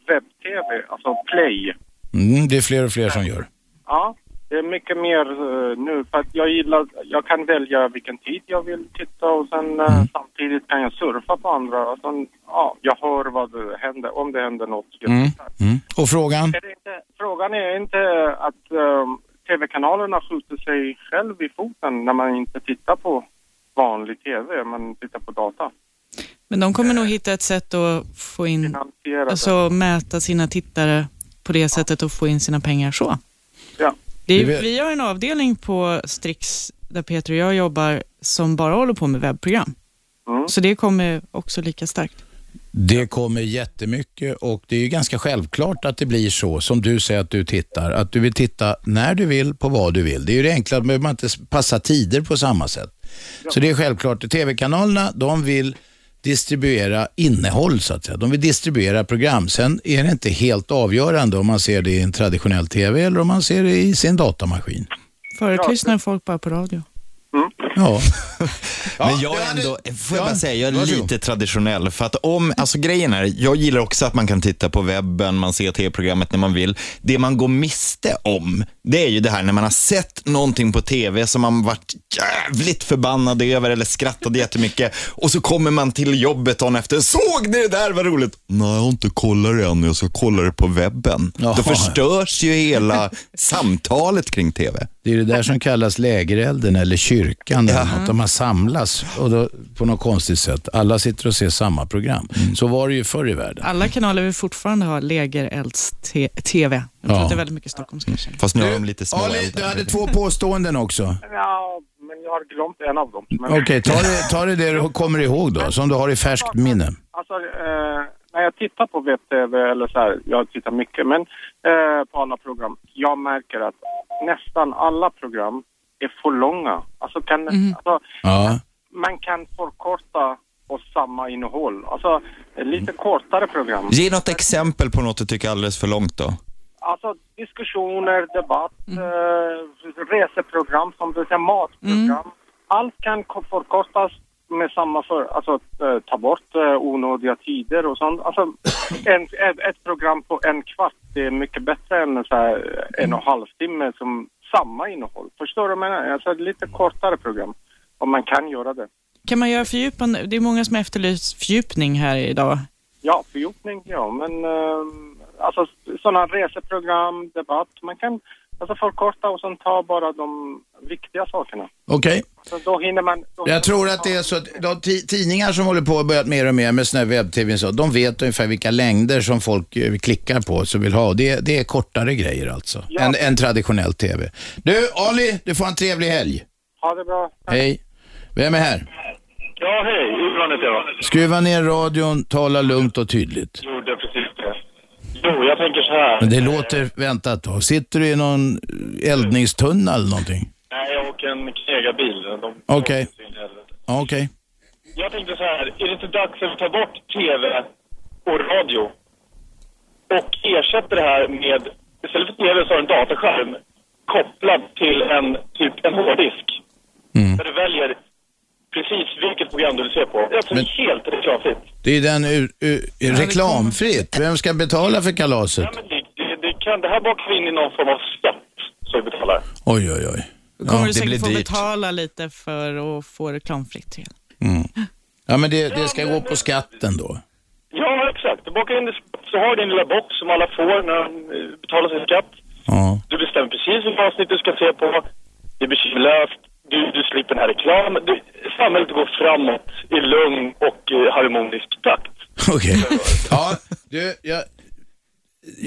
webb-tv, alltså play.
Mm, det är fler och fler som gör.
Ja, det är mycket mer eh, nu för att jag gillar, jag kan välja vilken tid jag vill titta och sen
Mm.
eh, samtidigt kan jag surfa på andra och sen, ja, jag hör vad det händer, om det händer något.
Mm. Mm. Och frågan?
Är det inte, frågan är inte att ehm, tv-kanalerna skjuter sig själv i foten när man inte tittar på vanlig tv, man tittar på data.
Men de kommer nog hitta ett sätt att få in... Alltså mäta sina tittare på det sättet och få in sina pengar så.
Ja.
Det är,
Du vet-
vi har en avdelning på Strix där Peter och jag jobbar som bara håller på med webbprogram. Så det kommer också lika starkt.
Det kommer jättemycket och det är ju ganska självklart att det blir så som du säger att du tittar. Att du vill titta när du vill på vad du vill. Det är ju det enkla, att behöver man inte passa tider på samma sätt. Så det är självklart. TV-kanalerna, de vill distribuera innehåll så att säga. De vill distribuera program. Sen är det inte helt avgörande om man ser det i en traditionell TV eller om man ser det i sin datamaskin.
Förut lyssnade folk bara på radio.
Ja.
Men jag är ändå, får jag
ja,
bara säga, jag är
varsågod.
lite traditionell. För att om, alltså grejen är, jag gillar också att man kan titta på webben, man ser tv-programmet när man vill. Det man går miste om, det är ju det här när man har sett någonting på tv som man varit jävligt förbannad över eller skrattade jättemycket. Och så kommer man till jobbet dagen efter, såg ni det där, vad roligt? Nej, jag har inte kollat det än, jag ska kolla det på webben. Då förstörs ju hela samtalet kring tv.
Det är det där som kallas lägerelden eller kyrkan. Där något. De har samlas och då, på något konstigt sätt. Alla sitter och ser samma program.
Mm.
Så var det ju förr i världen.
Alla kanaler vill fortfarande ha lägerelds-tv. Jag tror
Ja.
att det är väldigt mycket stockholmska.
Fast nu har de lite små
Ali, du hade två påståenden också.
Ja, men jag har glömt en av dem. Men-
Okej, ta, det, ta det där du kommer ihåg då, som du har i färskt minne.
Alltså, eh, när jag tittar på webb-tv eller så här, jag tittar mycket, men eh, på alla program, jag märker att nästan alla program är för långa. Alltså, kan, alltså
Ja.
man kan förkorta på samma innehåll. Alltså, eh, lite kortare program.
Ge något exempel på något du tycker är alldeles för långt då.
Alltså, diskussioner, debatt, eh, reseprogram, som du säger,
Mm.
matprogram. Allt kan ko- förkortas med samma för... Alltså, eh, ta bort eh, onödiga tider och sånt. Alltså, en, ett, ett program på en kvart, det är mycket bättre än så här, eh, en och en halv timme som samma innehåll. Förstår du vad jag menar? Alltså, ett lite kortare program, om man kan göra det.
Kan man göra fördjupande? Det är många som efterlyst fördjupning här idag.
Ja,
ehm,
fördjupning, ja. Men eh, alltså sådana reseprogram, debatt. Man kan
Alltså förkorta och sen ta bara de viktiga sakerna.
Okej.
Så då hinner man... Då
Jag tror att det är så att de ti- tidningar som håller på och börjat mer och mer med sån här webb-tv, och så, de vet ungefär vilka längder som folk eh, klickar på som vill ha. Och Det, det är kortare grejer alltså, än, än traditionell tv. Du, Ali, du får en trevlig helg.
Ha det bra.
Hej. Vem är här?
Ja, hej. Urban heter jag.
Skruva ner radion, tala lugnt och tydligt.
Gjorde precis det. Jo, jag tänker så här.
Men det låter, vänta ett tag, sitter du i någon eldningstunna eller någonting?
Nej, jag åker en knegarbil. De-
Okej. Ja, Okej.
Jag tänkte så här. Är det inte dags att ta bort tv och radio? Och ersätta det här med, istället för tv så har du en dataskärm kopplad till en, typ en hårddisk. Där du väljer precis vilket program du vill se på. Det är alltså
Men-
helt reklamfritt.
Det är ju den ur, ur, reklamfritt. Vem ska betala för kalaset?
Det, det, kan, det här bakar vi in i någon form av skatt som vi betalar.
Oj, oj, oj.
Då kommer
Ja,
du säkert få betala lite för att få reklamfritt igen.
Mm. Ja, men det, det ska gå på skatten då.
Ja, exakt. Du bakar in det, så har du din lilla box som alla får när de eh, betalar sin skatt. Du bestämmer precis vilket avsnitt du ska se på. Det blir kyllöst. Du, du slipper den här reklamen. Du, samhället går framåt i lugn och eh, harmonisk takt.
Okej. Ja, du, jag,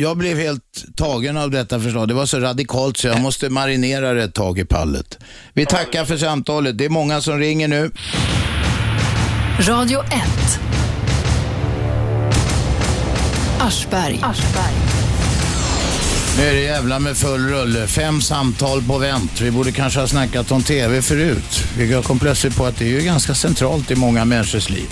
jag blev helt tagen av detta förslag. Det var så radikalt så jag måste marinera det ett tag i pallet. Vi tackar för samtalet. Det är många som ringer nu.
Radio 1. Aschberg.
Nu är det jävla med full rulle. Fem samtal på vänt. Vi borde kanske ha snackat om TV förut. Vi kom plötsligt på att det är ju ganska centralt i många människors liv.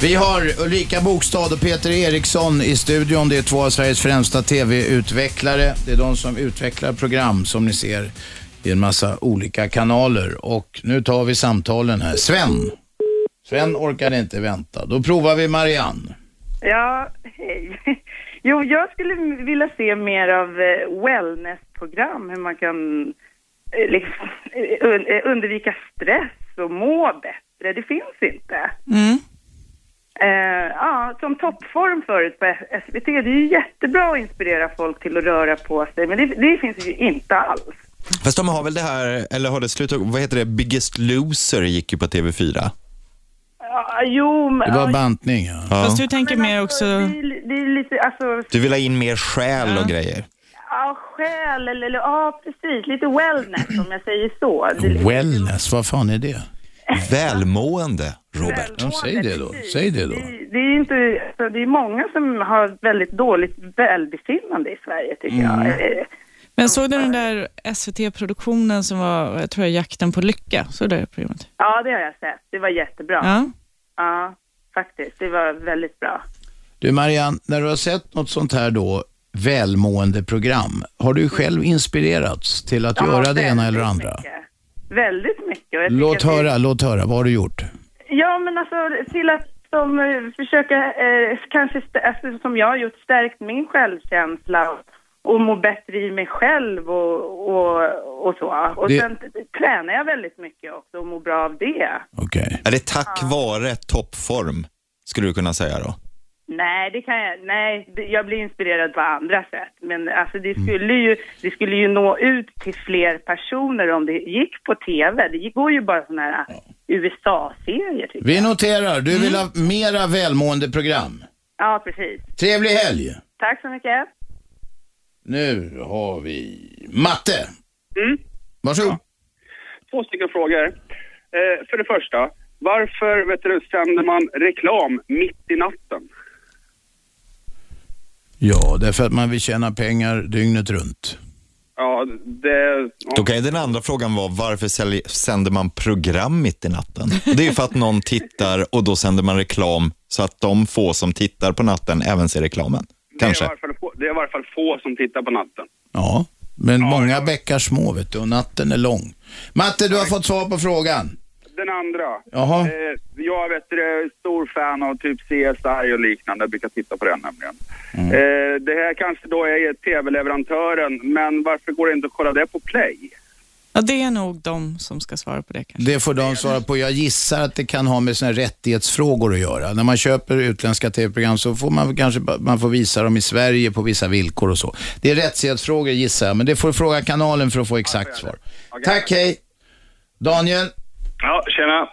Vi har Ulrika Bokstad och Peter Eriksson i studion. Det är två av Sveriges främsta TV-utvecklare. Det är de som utvecklar program som ni ser i en massa olika kanaler. Och nu tar vi samtalen här. Sven. Sven orkade inte vänta. Då provar vi Marianne.
Ja, hej. Jo, jag skulle vilja se mer av eh, wellnessprogram, hur man kan eh, liksom, eh, un- eh, undvika stress och må bättre. Det finns inte.
Mm.
Eh, ja, som toppform förut på SVT, det är ju jättebra att inspirera folk till att röra på sig, men det, det finns ju inte alls.
Fast de har väl det här, eller har det slutat, vad heter det, Biggest Loser gick ju på TV4.
Ja, jo, men... ja,
bantning.
Fast du tänker mer också...
det, är- det är lite, alltså,
Du vill ha in mer själ och grejer.
ja, själ eller, eller, ja precis, lite wellness om jag säger så. Det,
Mm. Wellness, vad fan är det?
Välmående,
Robert.
Ja, säg det då. Säg det då.
det är ju inte, alltså, det är många som har väldigt dåligt välbefinnande i Sverige tycker
Mm.
jag. Eh,
Men såg du den där SVT-produktionen som var, jag tror jag, Jakten på lycka? Såg du det programmet?
Ja, det har jag sett. Det var jättebra.
Ja.
Ja, faktiskt. Det var väldigt bra.
Du Marianne, när du har sett något sånt här då välmåendeprogram, har du själv inspirerats till att
Ja,
göra det ena
väldigt
eller andra?
Väldigt mycket. Och jag tycker
Låt
att det-
höra, låt höra, vad har du gjort?
Ja, men alltså till att de eh, försöker, eh, kanske st- alltså, som jag har gjort, stärkt min självkänsla och, och må bättre i mig själv och, och, och så. Och
Det-
sen t- tränar jag väldigt mycket också och mår bra av det.
Är det tack vare toppform, skulle du kunna säga då?
Nej, det kan jag, nej, det- jag blir inspirerad på andra sätt. Men alltså det skulle ju, det skulle ju nå ut till fler personer om det gick på TV. Det går ju bara sådana här USA-serier tycker jag.
Vi noterar, du vill
Mm.
ha mera välmåendeprogram.
Ja, precis.
Trevlig helg!
Tack så mycket.
Nu har vi Matte.
Mm.
Varsågod.
Två stycken frågor. Eh, för det första, varför vet du, sänder man reklam mitt i natten?
Ja, därför att man vill tjäna pengar dygnet runt.
Ja, det...
Då kan ju den andra frågan vara, varför sälj, sänder man program mitt i natten? Det är ju för att någon tittar och då sänder man reklam så att de få som tittar på natten även ser reklamen. Kanske.
Det är, i alla fall få, det är i alla fall få som tittar på natten.
Ja, men många bäckar små vet du och natten är lång. Matte, du har fått svar på frågan.
Den andra.
Jaha.
Eh, jag vet, du, är stor fan av typ CSI och liknande. Jag brukar titta på den nämligen. Eh, det här kanske då är tv-leverantören, men varför går det inte att kolla det på Play?
Ja, det är nog de som ska svara på det.
Det får de svara på. Jag gissar att det kan ha med sina rättighetsfrågor att göra. När man köper utländska tv-program så får man kanske ba- man får visa dem i Sverige på vissa villkor och så. Det är rättighetsfrågor gissar jag, men det får du fråga kanalen för att få exakt svar. Tack, hej. Daniel,
Ja, tjena.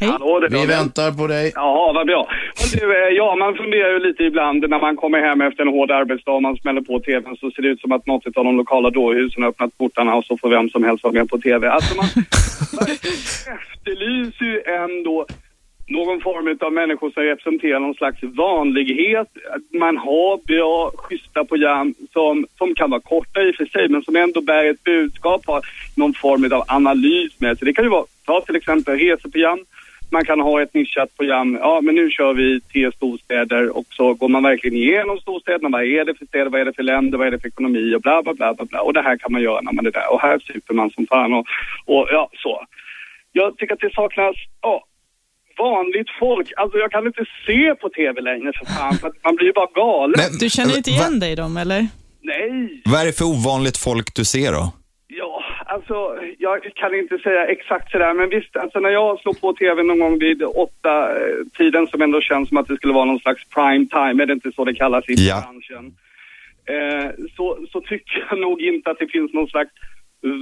Hej. Hallå, det är
vi
Daniel.
väntar på dig.
Ja, vad bra. Men du, eh, ja, man funderar ju lite ibland när man kommer hem efter en hård arbetsdag och man smäller på tvn så ser det ut som att något av de lokala dårhusen har öppnat portarna och så får vem som helst vara med på tv. Alltså man, man efterlyser ju ändå någon form av människor som representerar någon slags vanlighet. Att Man har bra, schyssta program som, som kan vara korta i och för sig, men som ändå bär ett budskap, har någon form av analys med sig. Det kan ju vara, ta till exempel reseprogram. Man kan ha ett nischat program. Ja, men nu kör vi tio storstäder och så går man verkligen igenom storstäderna. Vad är det för städer? Vad är det för länder? Vad är det för ekonomi? Och bla, bla, bla, bla, bla. Och det här kan man göra när man är där. Och här super man som fan och, och ja, så. Jag tycker att det saknas, ja, vanligt folk. Alltså jag kan inte se på tv längre för fan, för att man blir ju bara galen.
Du känner
eh,
ju inte igen dig i dem, eller?
Nej,
Vad är det för ovanligt folk du ser då?
ja, alltså jag kan inte säga exakt sådär, men visst, alltså när jag slår på tv någon gång vid åtta eh, tiden som ändå känns som att det skulle vara någon slags prime time, är det inte så det kallas i
Ja.
branschen? Eh, så, så tycker jag nog inte att det finns någon slags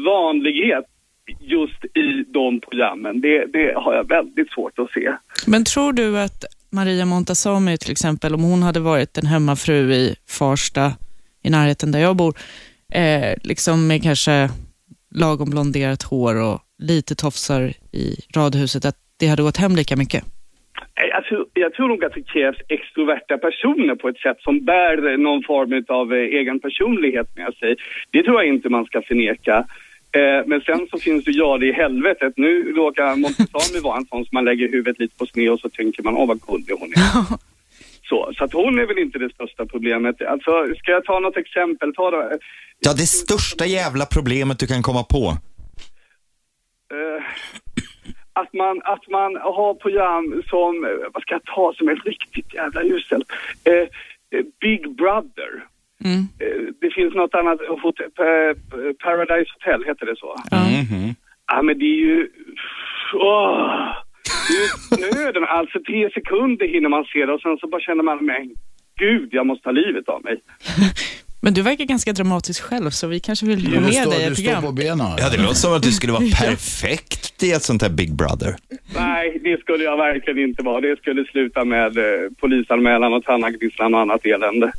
vanlighet just i de programmen. Det, det har jag väldigt svårt att se.
Men tror du att Maria Montazami till exempel, om hon hade varit en hemmafru i Farsta, i närheten där jag bor, eh, liksom med kanske lagom blonderat hår och lite tofsar i radhuset, att det hade gått hem lika mycket?
Nej, Eh, Jag tror, jag tror nog att det krävs extroverta personer på ett sätt som bär någon form av eh, egen personlighet med sig. Det tror jag inte man ska förneka. Eh, men sen så finns ju jag det i helvetet. Nu råkar Montazami vara en sån som man lägger huvudet lite på sned och så tänker man, åh vad gullig hon är. Så, så att hon är väl inte det största problemet. Alltså, ska jag ta något exempel? Ta då, eh,
Ja, det största jävla problemet du kan komma på.
eh, att, man, att man har program som, eh, vad ska jag ta som är riktigt jävla uselt? Eh, eh, Big Brother. Eh, det finns något annat, hot- eh, pa- Paradise Hotel heter det så? Ja men det är ju, åh, det är ju nöden, alltså tio sekunder hinner man se det och sen så bara känner man, men gud jag måste ta livet av mig.
Men du verkar ganska dramatisk själv, så vi kanske vill ha med dig i ett program.
benen.
Ja, det låter som att du skulle vara perfekt i ett sånt här Big Brother.
Nej, det skulle jag verkligen inte vara. Det skulle sluta med eh, polisanmälan och tannagnisslan och annat elände.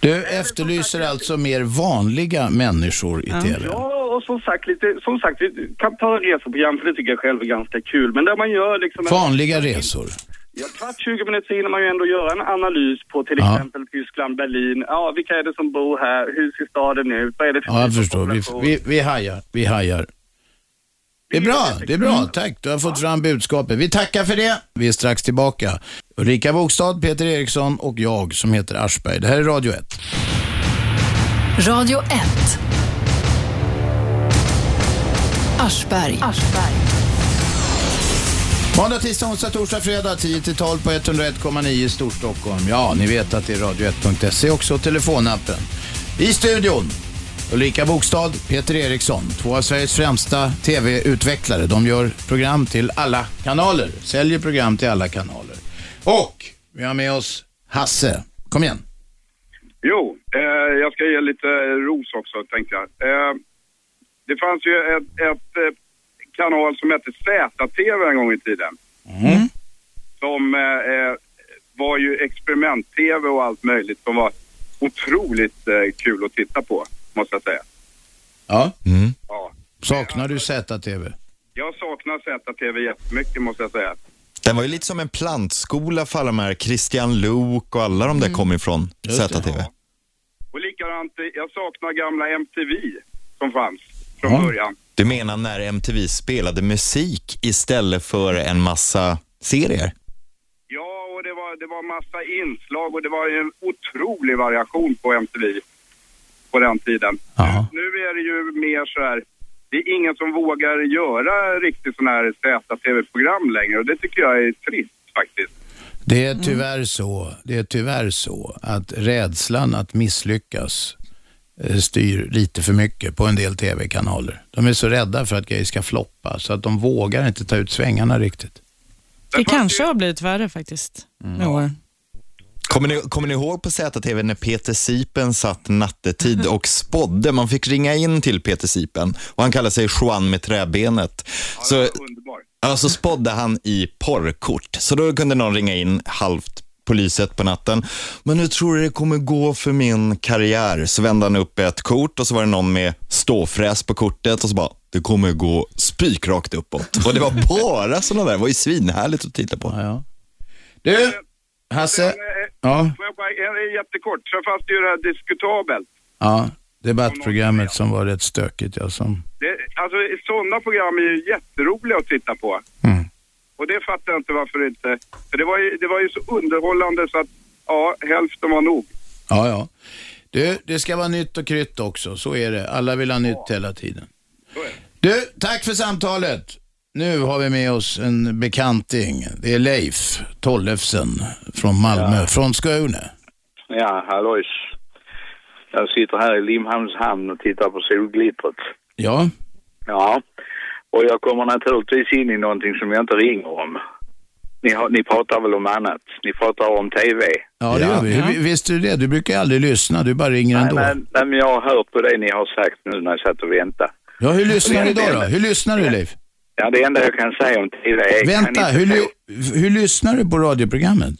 Du efterlyser alltså mer vanliga människor i tv.
Ja, och som sagt, lite, som sagt, vi kan ta reseprogram för det tycker jag själv är ganska kul. Men där man gör liksom... en-
Vanliga resor.
Ja, kvart, 20 minuter hinner man ju ändå göra en analys på till exempel Tyskland, Berlin. Ja, vilka är det som bor här? Hur ser staden ut? Vad är det för
Ja, jag förstår. Vi, vi, vi hajar. Vi hajar. Det är bra, det är bra. Tack, du har fått fram budskapet. Vi tackar för det. Vi är strax tillbaka. Ulrika Bokstad, Peter Eriksson och jag som heter Aschberg. Det här är Radio 1.
Radio 1. Aschberg.
Måndag, tisdag, onsdag, torsdag, fredag 10-12 på 101,9 i Storstockholm. Ja, ni vet att det är radio1.se också, telefonappen. I studion, Ulrika Bokstad, Peter Eriksson, två av Sveriges främsta tv-utvecklare. De gör program till alla kanaler, säljer program till alla kanaler. Och vi har med oss Hasse. Kom igen.
Jo, eh, jag ska ge lite ros också tänkte jag. Eh, det fanns ju ett, ett eh, kanal som hette ZTV en gång i tiden. Som eh, eh, var ju experiment-TV och allt möjligt som var otroligt eh, kul att titta på, måste jag säga.
Ja.
Ja.
Saknar du ZTV?
Jag saknar ZTV jättemycket, måste jag säga.
Den var ju lite som en plantskola för alla de här, Christian Luuk och alla de där
Mm.
kom ifrån ZTV.
Och likadant, eh, jag saknar gamla MTV som fanns från början.
Mm. Du menar när MTV spelade musik istället för en massa serier?
Ja, och det var, det var massa inslag och det var ju en otrolig variation på MTV på den tiden. Nu, nu är det ju mer så här, det är ingen som vågar göra riktigt sådana här täta tv-program längre och det tycker jag är trist faktiskt.
Det är tyvärr så, det är tyvärr så att rädslan att misslyckas eh, styr lite för mycket på en del tv-kanaler. De är så rädda för att grejer ska floppa så att de vågar inte ta ut svängarna riktigt.
Det kanske har blivit värre faktiskt med åren.
Kommer ni, kommer ni ihåg på ZTV när Peter Sipen satt nattetid och spådde? Man fick ringa in till Peter Sipen och han kallade sig Juan med träbenet. Så, ja, så spådde han i porrkort. Så då kunde någon ringa in halvt poliset på natten. Men hur tror du det kommer gå för min karriär? Så vände han upp ett kort och så var det någon med ståfräs på kortet och så bara, det kommer gå spikrakt uppåt. Och det var bara sådana där, det var ju svinhärligt att titta på.
Du, Hasse. Ja,
Får jag bara, eh, jättekort, så fanns det ju det här diskutabelt.
ja. Debattprogrammet som var rätt stökigt, ja, som...
Det, alltså sådana program är ju jätteroliga att titta på. Och det fattar jag inte varför inte. För det var ju, det var ju så underhållande så att ja, hälften var nog.
Ja, ja. Du, det ska vara nytt och krytt också, så är det. Alla vill ha nytt hela tiden. Du, tack för samtalet. Nu har vi med oss en bekanting. Det är Leif Tollefsen från Malmö, från Skåne.
Ja, hallojs. Jag sitter här i Limhamns hamn och tittar på solglittret.
Ja,
Ja, och jag kommer naturligtvis in i någonting som jag inte ringer om. Ni, har, ni pratar väl om annat? Ni pratar om TV?
ja det gör vi. Hur- Visste du det? Du brukar ju aldrig lyssna, du bara ringer
Nej,
ändå.
nej, nej, men jag har hört på det ni har sagt nu när jag satt och väntade.
Ja, hur
Det
lyssnar
är
du
det
då, då?
enda-
Hur lyssnar du, Leif?
Ja, det enda jag kan säga om TV är... jag
Vänta,
kan inte
hur,
säga-
ly- hur lyssnar du på radioprogrammet?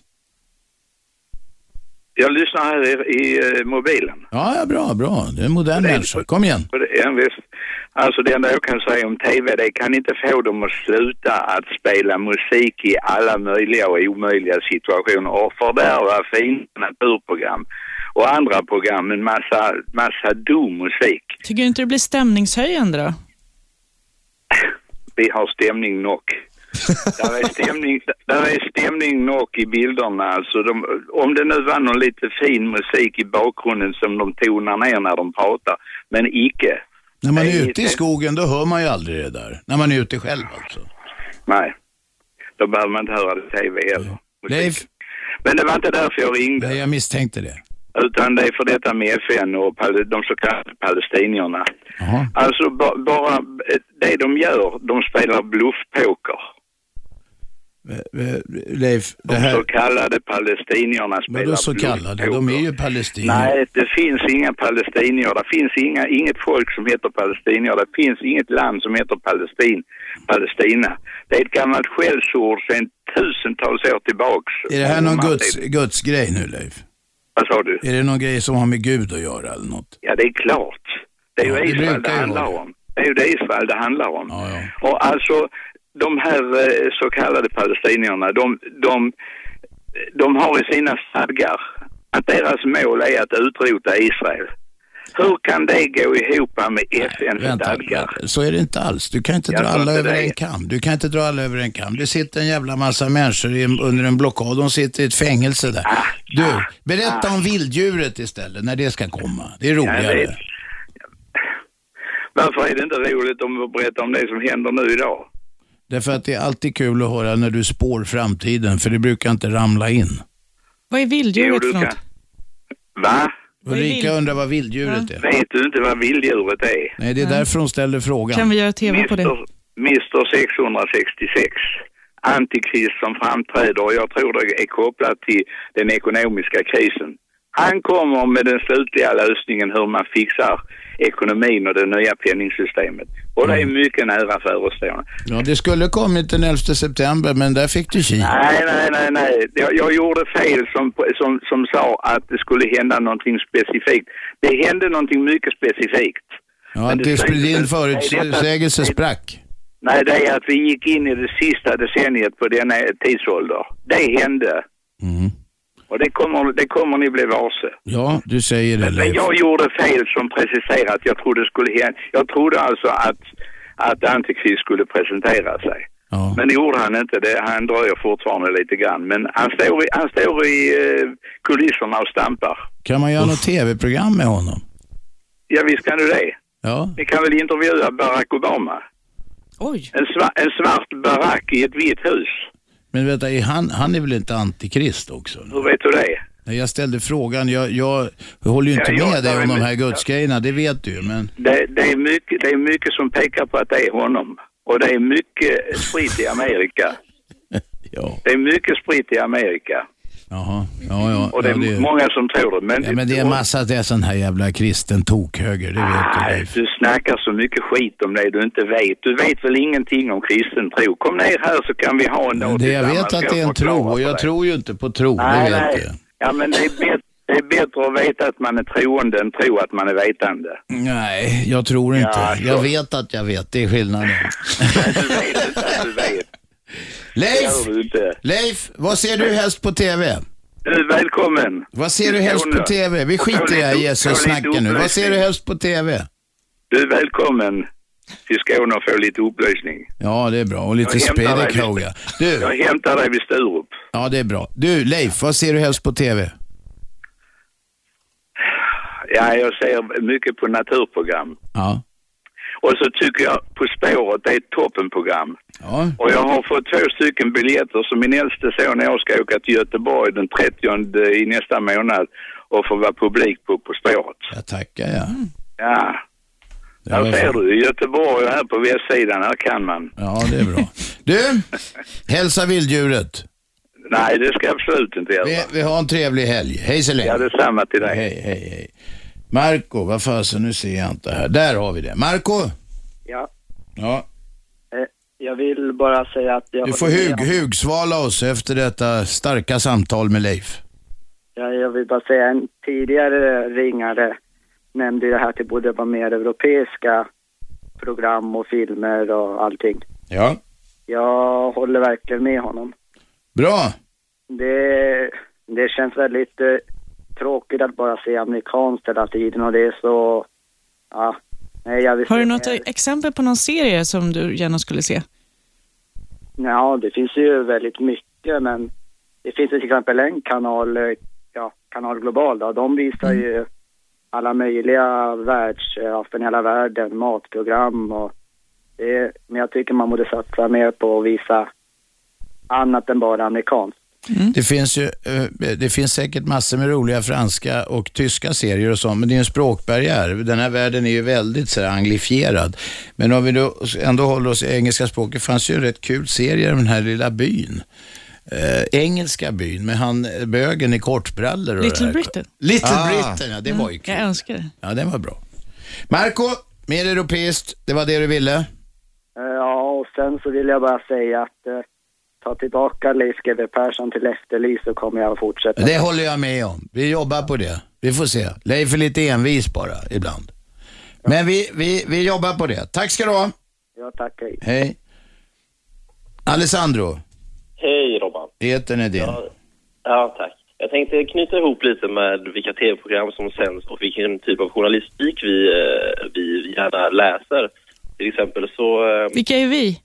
Jag lyssnar här i, i eh, mobilen.
Ja, ja, bra, bra. Du är en modern människa. Kom igen.
För det är en viss- Alltså det enda jag kan säga om TV, det kan inte få dem att sluta att spela musik i alla möjliga och omöjliga situationer och fördärva fina naturprogram och andra program med massa, massa dum musik.
Tycker du inte det blir stämningshöjande då?
Vi har stämning nog. där, är stämning, där är stämning nog i bilderna. Alltså de, om det nu var någon lite fin musik i bakgrunden som de tonar ner när de pratar, men icke.
När man är ute i skogen, då hör man ju aldrig det där. När man är ute själv alltså.
Nej, då behöver man inte höra det i TV heller.
Leif?
Men det var inte därför jag ringde,
Nej, jag misstänkte det.
utan det är för detta med FN och pal- de så kallade palestinierna.
Jaha.
Alltså ba- bara det de gör, de spelar bluffpoker.
Eh, eh, Leif, det
De
här...
så kallade palestinierna spelar
Vadå så
bluffpoker.
kallade? De är ju palestinier.
Nej, det finns inga palestinier. Det finns inga, inget folk som heter palestinier. Det finns inget land som heter Palestin, Palestina. Det är ett gammalt skällsord sedan tusentals år tillbaks.
Är det här någon guds, gudsgrej nu, Leif?
Vad sa du?
Är det någon grej som har med Gud att göra eller något?
Ja, det är klart. Det är
Ja, det
ju Israel det
brukar ju
handlar
vara.
om. Det är ju det Israel det handlar om. Och alltså, de här eh, så kallade palestinierna, de, de, de har i sina stadgar att deras mål är att utrota Israel. Hur kan det gå ihop med FNs stadgar?
Så är det inte alls. Du kan inte
Jag
dra
tror
alla
inte
över
det.
en kam. Du kan inte dra alla över en kam. Det sitter en jävla massa människor i, under en blockad. De sitter i ett fängelse där. Du, berätta om vilddjuret istället, när det ska komma. Det är
Ja, det
roligare.
är- Varför är det inte roligt om vi berättar om det som händer nu idag?
Därför att det är alltid kul att höra när du spår framtiden, för det brukar inte ramla in.
Vad är vilddjuret för något?
Va?
Ulrika undrar vad vilddjuret är.
Vet du inte vad vilddjuret är?
Nej, det är därför hon ställer frågan.
Kan vi göra tv på det?
Mr 666. Antikrist som framträder och jag tror det är kopplat till den ekonomiska krisen. Han kommer med den slutliga lösningen hur man fixar ekonomin och det nya penningsystemet. Och
Mm.
det är mycket nära förestående.
Ja, det skulle kommit den 11 september, men där fick du kil.
Nej, nej, nej, nej. Jag, jag gjorde fel som, som, som sa att det skulle hända någonting specifikt. Det hände någonting mycket specifikt.
Ja,
Men det
det,
sägs-
din
Nej, detta-
förutsägelse sprack.
Nej, det är att vi gick in i det sista decenniet på denna tidsålder. Det hände. Och det kommer, det kommer ni bli varse.
Ja, du säger det
Men
Leif.
jag gjorde fel som preciserat. Jag trodde det skulle hända. Jag trodde alltså att, att Antikrist skulle presentera sig. Men det gjorde han inte. Det, han dröjer fortfarande lite grann. Men han står i, han står i eh, kulisserna och stampar.
Kan man göra något tv-program med honom?
Ja, visst kan du det.
Ja.
Ni kan väl intervjua Barack Obama?
Oj.
En, sva, en svart barack i ett vitt hus.
Men vänta, är han, han är väl inte antikrist också?
Hur vet du det?
Nej, jag ställde frågan. Jag, jag håller ju inte
Ja, jag
med dig
tar
om de
emot-
här gudsgrejerna, det vet du ju, men...
Det, det, är mycket, det är mycket som pekar på att det är honom. Och det är mycket sprit i Amerika. Det är mycket sprit i Amerika.
Jaha, ja, ja.
Och det är
ja,
många som tror det. Men,
Ja, men det är en massa att det är sån här jävla kristen tokhöger, det vet du.
Nej, du snackar så mycket skit om det du inte vet. Du vet väl ingenting om kristen tro? Kom ner här så kan vi ha en dag
Det jag
tillsammans.
vet att det är en tro och jag tror ju inte på tro, det
Nej,
vet
nej.
jag.
Ja, men det är, bättre, det är bättre att veta att man är troende än tro att man är vetande.
Nej, jag tror inte. jag vet att jag vet, det är skillnaden. Leif! Leif, vad ser du helst på TV?
Du, välkommen!
Vad ser du helst på TV? Vi skiter i det här Jesus-snacket nu. Vad ser du helst på TV?
Du är välkommen till Skåne och få lite upplysning.
Ja, det är bra. Och lite
Jag hämtar dig vid-
spedekroga. Du.
Jag hämtar dig vid Sturup.
Ja, det är bra. Du, Leif, vad ser du helst på TV?
Ja, jag ser mycket på naturprogram.
Ja.
Och så tycker jag På spåret, det är ett toppenprogram.
Ja.
Och jag har fått två stycken biljetter så min äldste son och jag ska åka till Göteborg den 30 i nästa månad och få vara publik på På spåret.
Jag tackar, ja.
Ja. Här ser du, i Göteborg och här på västsidan, här kan man.
Ja, det är bra. Du, hälsa vilddjuret.
Nej, det ska jag absolut inte göra.
Vi, vi har en trevlig helg. Hej så länge.
Ja, detsamma till dig.
Hej, hej, hej. Marco, vad fasen, nu ser jag inte här. Där har vi det. Marco!
Ja,
Ja,
eh, jag vill bara säga att jag...
du får
håller med
hug,
om-
hugsvala oss efter detta starka samtal med Leif.
Ja, jag vill bara säga en tidigare ringare nämnde ju det här till både vad mer europeiska program och filmer och allting.
Ja.
Jag håller verkligen med honom.
Bra.
Det, det känns väldigt eh, tråkigt att bara se amerikanskt hela tiden och det är så... Ja, nej, jag vill
Har du
se
något
mer.
exempel på någon serie som du gärna skulle se?
Ja, det finns ju väldigt mycket, men det finns ju till exempel en kanal, eh, ja, Kanal Global då. De visar ju
Mm.
alla möjliga världs, ja, från hela världen, matprogram och det, men jag tycker man borde satsa mer på att visa annat än bara amerikanskt.
Mm.
Det finns ju, eh, det finns säkert massor med roliga franska och tyska serier och sånt, men det är en språkbarriär. Den här världen är ju väldigt så här, anglifierad. Men om vi då ändå håller oss i engelska språket, det fanns ju en rätt kul serie om den här lilla byn. Eh, engelska byn med han eh, bögen i kortbrallor och det
Little
här.
Britain? Mm.
Little
Ah.
Britain, ja det var ju
kul. Jag önskar det.
Ja, den var bra. Marco, mer europeiskt, det var det du ville?
Eh, Ja, och sen så vill jag bara säga att eh, ta tillbaka Leif GW Persson till efterlyst så kommer jag att fortsätta.
Det håller jag med om. Vi jobbar på det. Vi får se. Leif är lite envis bara ibland. Men vi, vi, vi jobbar på det. Tack ska du ha.
Ja, tack. Hej.
Hej. Alessandro,
Hej Robban.
etern är din.
Ja, tack. Jag tänkte knyta ihop lite med vilka tv-program som sänds och vilken typ av journalistik vi, eh, vi gärna läser. Till exempel så... eh,
Vilka är vi?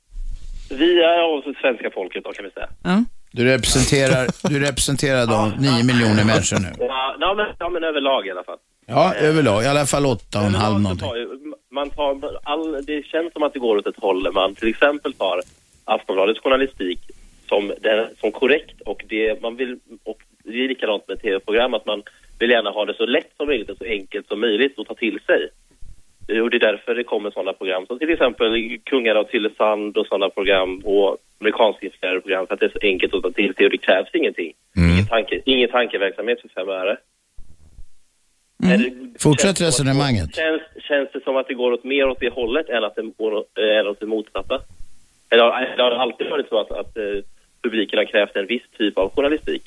Vi är av svenska folket då kan vi säga.
Du representerar, du representerar de nio miljoner människor nu.
Ja, ja, men, ja, men överlag i alla fall.
Ja, överlag. I alla fall åtta och en halv
Man
någonting.
tar, ju- man tar all, det känns som att det går åt ett håll. Man till exempel tar Aftonbladets journalistik som, den, som korrekt och det, man vill, och det är likadant med tv-program att man vill gärna ha det så lätt som möjligt och så enkelt som möjligt att ta till sig. Eh, Och det är därför det kommer sådana program som till exempel Kungar av Tylösand och sådana program och amerikanska inspirerade program för att det är så enkelt att ta till sig och det krävs ingenting. Ingen, tanke, ingen tankeverksamhet för fem öre. Mm.
Fortsätt resonemanget.
Känns, känns det som att det går åt mer åt det hållet än att det går åt, eh, än åt det motsatta? Eller har eller har det alltid varit så att, att eh, publiken har krävt en viss typ av journalistik?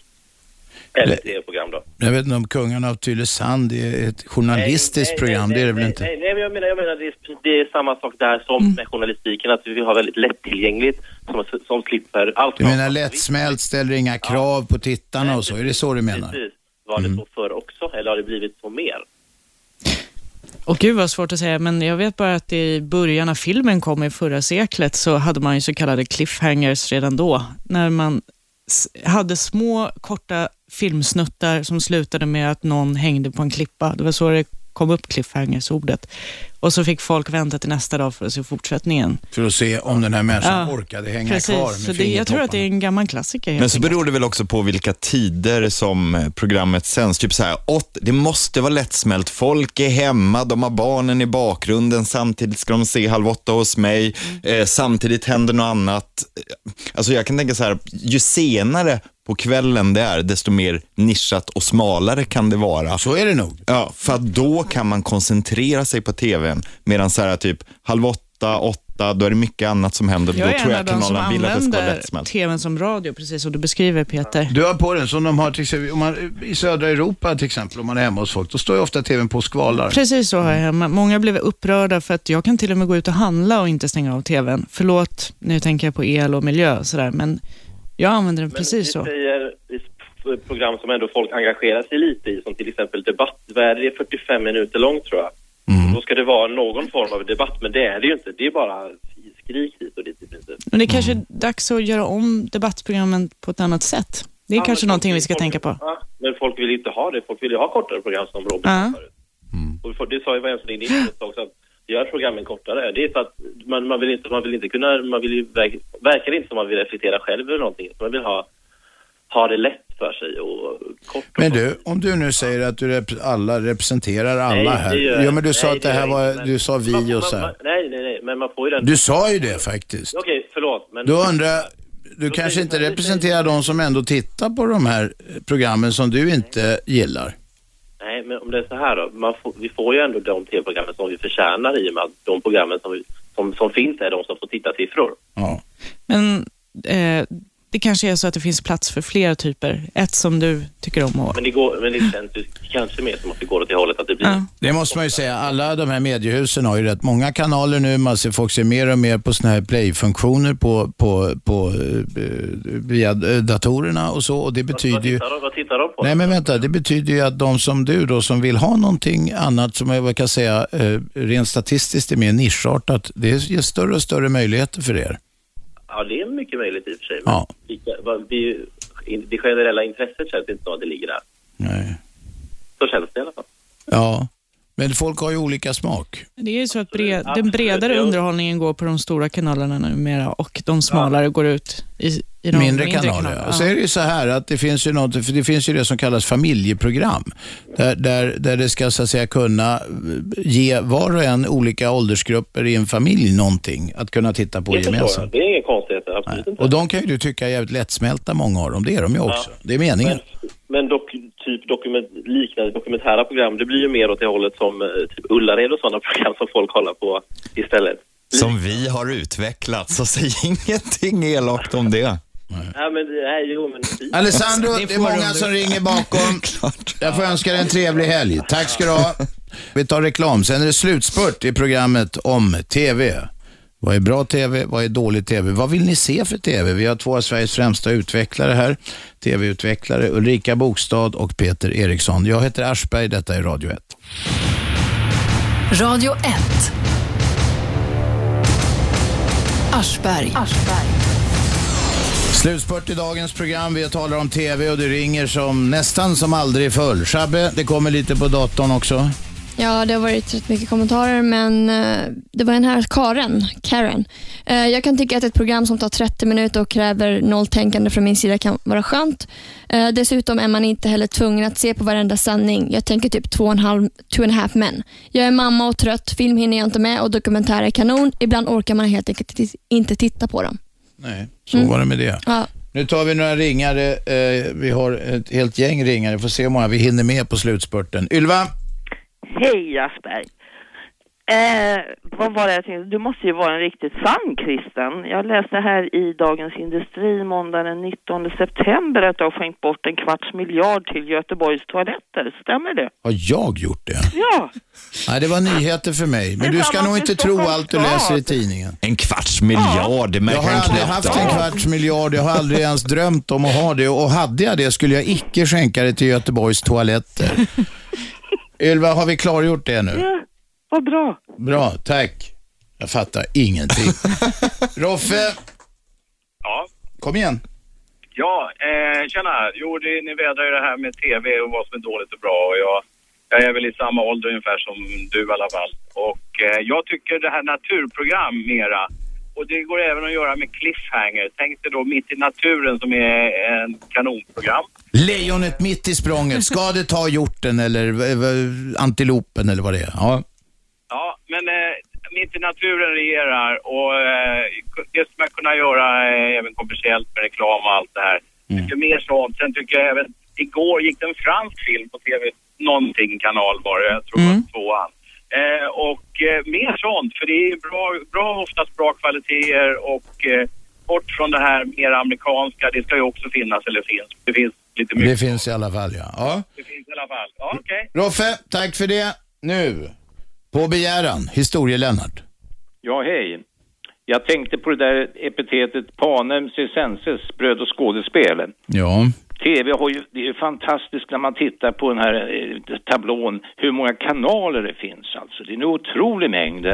Eller tv-program då?
Jag vet inte om Kungarna av Tylösand är ett journalistiskt program. Det är det väl inte? Mm.
Nej, nej, men jag menar, jag menar det, är, det är samma sak där som med journalistiken, att vi vill ha väldigt lättillgängligt, som, som slipper allt.
Du menar lättsmält, ställer inga krav på tittarna och så? Är det så du menar?
Precis. Var
Mm.
det så förr också, eller har det blivit så mer?
Och gud vad svårt att säga, men jag vet bara att i början när filmen kom i förra seklet så hade man ju så kallade cliffhangers redan då. När man s- hade små korta filmsnuttar som slutade med att någon hängde på en klippa. Det var så det kom upp cliffhangers-ordet. Och så fick folk vänta till nästa dag för att se fortsättningen.
För att se om den här människan orkade hänga
precis.
kvar med
så det, Jag tror att det är en gammal klassiker. helt
Men så beror det väl också på vilka tider som eh, programmet sänds. Typ så här, åt, det måste vara lättsmält. Folk är hemma, de har barnen i bakgrunden, samtidigt ska de se Halv åtta hos mig,
Mm.
eh, samtidigt händer något annat. Alltså jag kan tänka så här, ju senare på kvällen det är, desto mer nischat och smalare kan det vara.
Så är det nog.
Ja, för att då kan man koncentrera sig på tvn, medan så här typ halv åtta, åtta, då är det mycket annat som händer.
Jag
då
är
tror
en av
jag
de som
kanalerna vill att det ska vara
använder
lättsmält.
tvn som radio, precis som du beskriver Peter.
Du har på den som de har till exempel, om man, i södra Europa till exempel, om man är hemma hos folk, då står ju ofta tvn på och skvalar.
Precis så har jag hemma. Många blev upprörda för att jag kan till och med gå ut och handla och inte stänga av tvn. Förlåt, nu tänker jag på el och miljö och sådär, men jag använder den precis så.
Vi säger i s- program som ändå folk engagerar sig lite i, som till exempel Debatt. Sverige är 45 minuter långt tror jag.
Mm.
Då ska det vara någon form av debatt, men det är det ju inte. Det är bara skrik hit och dit i princip.
Men det är kanske
Mm.
är dags att göra om debattprogrammen på ett annat sätt. Det är
Ja,
kanske
men-
någonting vi ska tänka på.
Ja, Men folk vill ju inte ha det. Folk vill ju ha kortare program som Robert
Ja.
sa förut. Och vi får- det sa ju Jens Lindin också, att gör programmen kortare. Det är för att man, man, vill, inte, man vill inte kunna, man vill ju, verk- verkar inte som man vill reflektera själv över någonting. Man vill ha, ha det lätt för sig och kort.
Men du, om du nu säger att du rep- alla representerar alla
Nej,
här.
det gör jag
Jo, men du
inte.
sa
Nej,
att det
det
här
gör jag
var,
inte.
du sa vi och så
Man, man,
här.
nej, nej, nej, men man får ju den...
Du sa ju det faktiskt.
Okej, förlåt. Men...
Då undrar du kanske inte representerar de som ändå tittar på de här eh, programmen som du inte gillar?
Nej, men om det är så här då. Man får, vi får ju ändå de tv-programmen som vi förtjänar i och med att de programmen som, vi, som, som finns är de som får tittarsiffror.
Men eh, det kanske är så att det finns plats för fler typer. Ett som du tycker om och...
Men det, går, men det känns ju kanske mer som att det går åt det hållet att det blir...
Det måste man ju säga. Alla de här mediehusen har ju rätt många kanaler nu. Man ser folk ser mer och mer på såna här play-funktioner på, på, på, eh, via eh, datorerna och så. Och det betyder
Vad
ju...
tittar de, vad tittar de på?
Nej men vänta, det betyder ju att de som du då som vill ha någonting annat som jag kan säga eh, rent statistiskt är mer nischartat, det ger större och större möjligheter för er.
Ja, det är mycket möjligt i och för sig.
Ja.
Vilka, vad, det, är ju- in- det generella intresset känns inte som att det ligger där.
Nej.
Så känns det i alla fall.
Ja, men folk har ju olika smak.
Det är ju så att bre- den bredare underhållningen går på de stora kanalerna numera och de smalare går ut i, i de mindre,
mindre kanaler. ja. Och så är det ju så här att det finns ju något, för det finns ju det som kallas familjeprogram. Där, där, där det ska så att säga kunna eh, ge var och en olika åldersgrupper i en familj någonting att kunna titta på
det förstår jag.
gemensamt.
Det är inga konstigheter, absolut inte.
Och de kan ju du tycka är jävligt lättsmälta många av dem. Det är de ju också.
Ja.
Det är meningen.
Men dok, typ dokument, liknande dokumentära program, det blir ju mer åt det hållet som eh, typ Ullared och sådana program som folk kollar på istället.
Som vi har utvecklat, så säg ingenting elakt om det.
Nej, men, nej, jo, men...
Alessandro, det är många som ringer bakom. Jag får önska dig en trevlig helg. Tack ska du ha. Vi tar reklam, sen är det slutspurt i programmet om TV. Vad är bra TV? Vad är dålig TV? Vad vill ni se för TV? Vi har två av Sveriges främsta utvecklare här. TV-utvecklare Ulrika Bokstad och Peter Eriksson. Jag heter Aschberg, detta är Radio 1.
Radio 1. Aschberg.
Slutspurt i dagens program. Vi talar om TV och det ringer som nästan som aldrig förr. Shabbe, det kommer lite på datorn också.
Ja, det har varit rätt mycket kommentarer, men eh, det var en här, Karen. Karen. Eh, jag kan tycka att ett program som tar 30 minuter och kräver noll tänkande från min sida kan vara skönt. Eh, dessutom är man inte heller tvungen att se på varenda sändning. Jag tänker typ två och en halv, two and a half men. Jag är mamma och trött, film hinner jag inte med och dokumentär är kanon. Ibland orkar man helt enkelt tis- inte titta på dem.
Nej, så var det med det.
Ja.
Nu tar vi några ringare. Eh, vi har ett helt gäng ringare. Får se hur många vi hinner med på slutspurten. Ylva?
Hej Asperg. Eh, vad var det jag tänkte? Du måste ju vara en riktigt sann kristen. Jag läste här i Dagens Industri måndagen den 19 september att du har skänkt bort en kvarts miljard till Göteborgs toaletter. Stämmer det?
Har jag gjort det?
Ja.
Nej, det var nyheter för mig. Men du ska nog inte tro allt du läser i tidningen.
En kvarts miljard, det
Jag
märker
har
man
aldrig
knappt
haft
av.
en kvarts miljard. Jag har aldrig ens drömt om att ha det. Och hade jag det skulle jag icke skänka det till Göteborgs toaletter. Ylva, har vi klargjort det nu?
ja. Vad bra.
Bra, tack. Jag fattar ingenting. Roffe?
Ja.
Kom igen.
Ja, eh, tjena. Jo, det, ni vädrar ju det här med tv och vad som är dåligt och bra. Och jag,
Jag är väl i samma ålder ungefär som du i alla fall. Och eh, jag tycker det här naturprogram mera. Och det går även att göra med cliffhanger. Tänk dig då Mitt i naturen som är en kanonprogram.
Lejonet mitt i språnget. Ska det ta hjorten eller v- v- antilopen eller vad det är? Ja.
Ja, men eh, mitt i naturen regerar och eh, det ska man kunna göra eh, även kommersiellt med reklam och allt det här. Mycket mer sånt. Sen tycker jag även, igår gick det en fransk film på TV, någonting kanal var det, jag tror
Mm.
det var tvåan. Eh, och eh, mer sånt, för det är bra, bra oftast bra kvaliteter och eh, bort från det här mer amerikanska, det ska ju också finnas eller finns. Det finns lite mycket.
Det finns i alla fall ja. ja.
Det finns i alla fall. Ja, okej.
Roffe, tack för det. Nu, på begäran, historie-Lennart.
Ja, hej. Jag tänkte på det där epitetet panem circenses, bröd och skådespel.
Ja.
TV har ju, det är ju fantastiskt när man tittar på den här eh, tablån, hur många kanaler det finns alltså. Det är en otrolig mängd.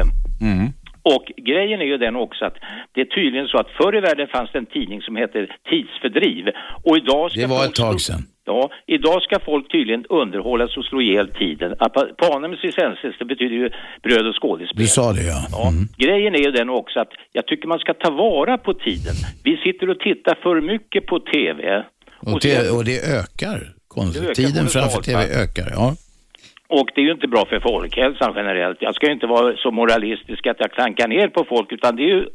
Och grejen är ju den också att det är tydligen så att förr i världen fanns det en tidning som hette Tidsfördriv och idag ska
Det var
folk
ett tag sedan.
Ja, idag ska folk tydligen underhållas och slå ihjäl tiden. Apa- Panem circenses, det betyder ju bröd och skådespel.
Du sa det ja. Mm.
Grejen är ju den också att jag tycker man ska ta vara på tiden. Vi sitter och tittar för mycket på TV.
Och, te- och det ökar. Konstigt.
Det ökar
Tiden
kolossalt,
framför TV
va?
ökar. Ja.
Och det är ju inte bra för folkhälsan generellt. Jag ska ju inte vara så moralistisk att jag klankar ner på folk, utan det är ju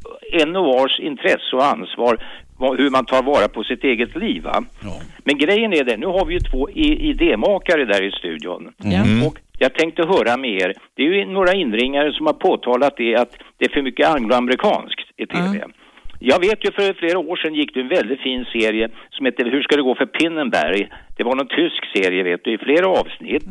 en och vars intresse och ansvar vad- hur man tar vara på sitt eget liv. Va? Men grejen är det, nu har vi ju två i- idémakare där i studion. Och jag tänkte höra med er, det är ju några inringare som har påtalat det att det är för mycket angloamerikanskt i TV. Jag vet ju för flera år sedan gick det en väldigt fin serie som hette Hur ska det gå för Pinnenberg? Det var någon tysk serie vet du, i flera avsnitt.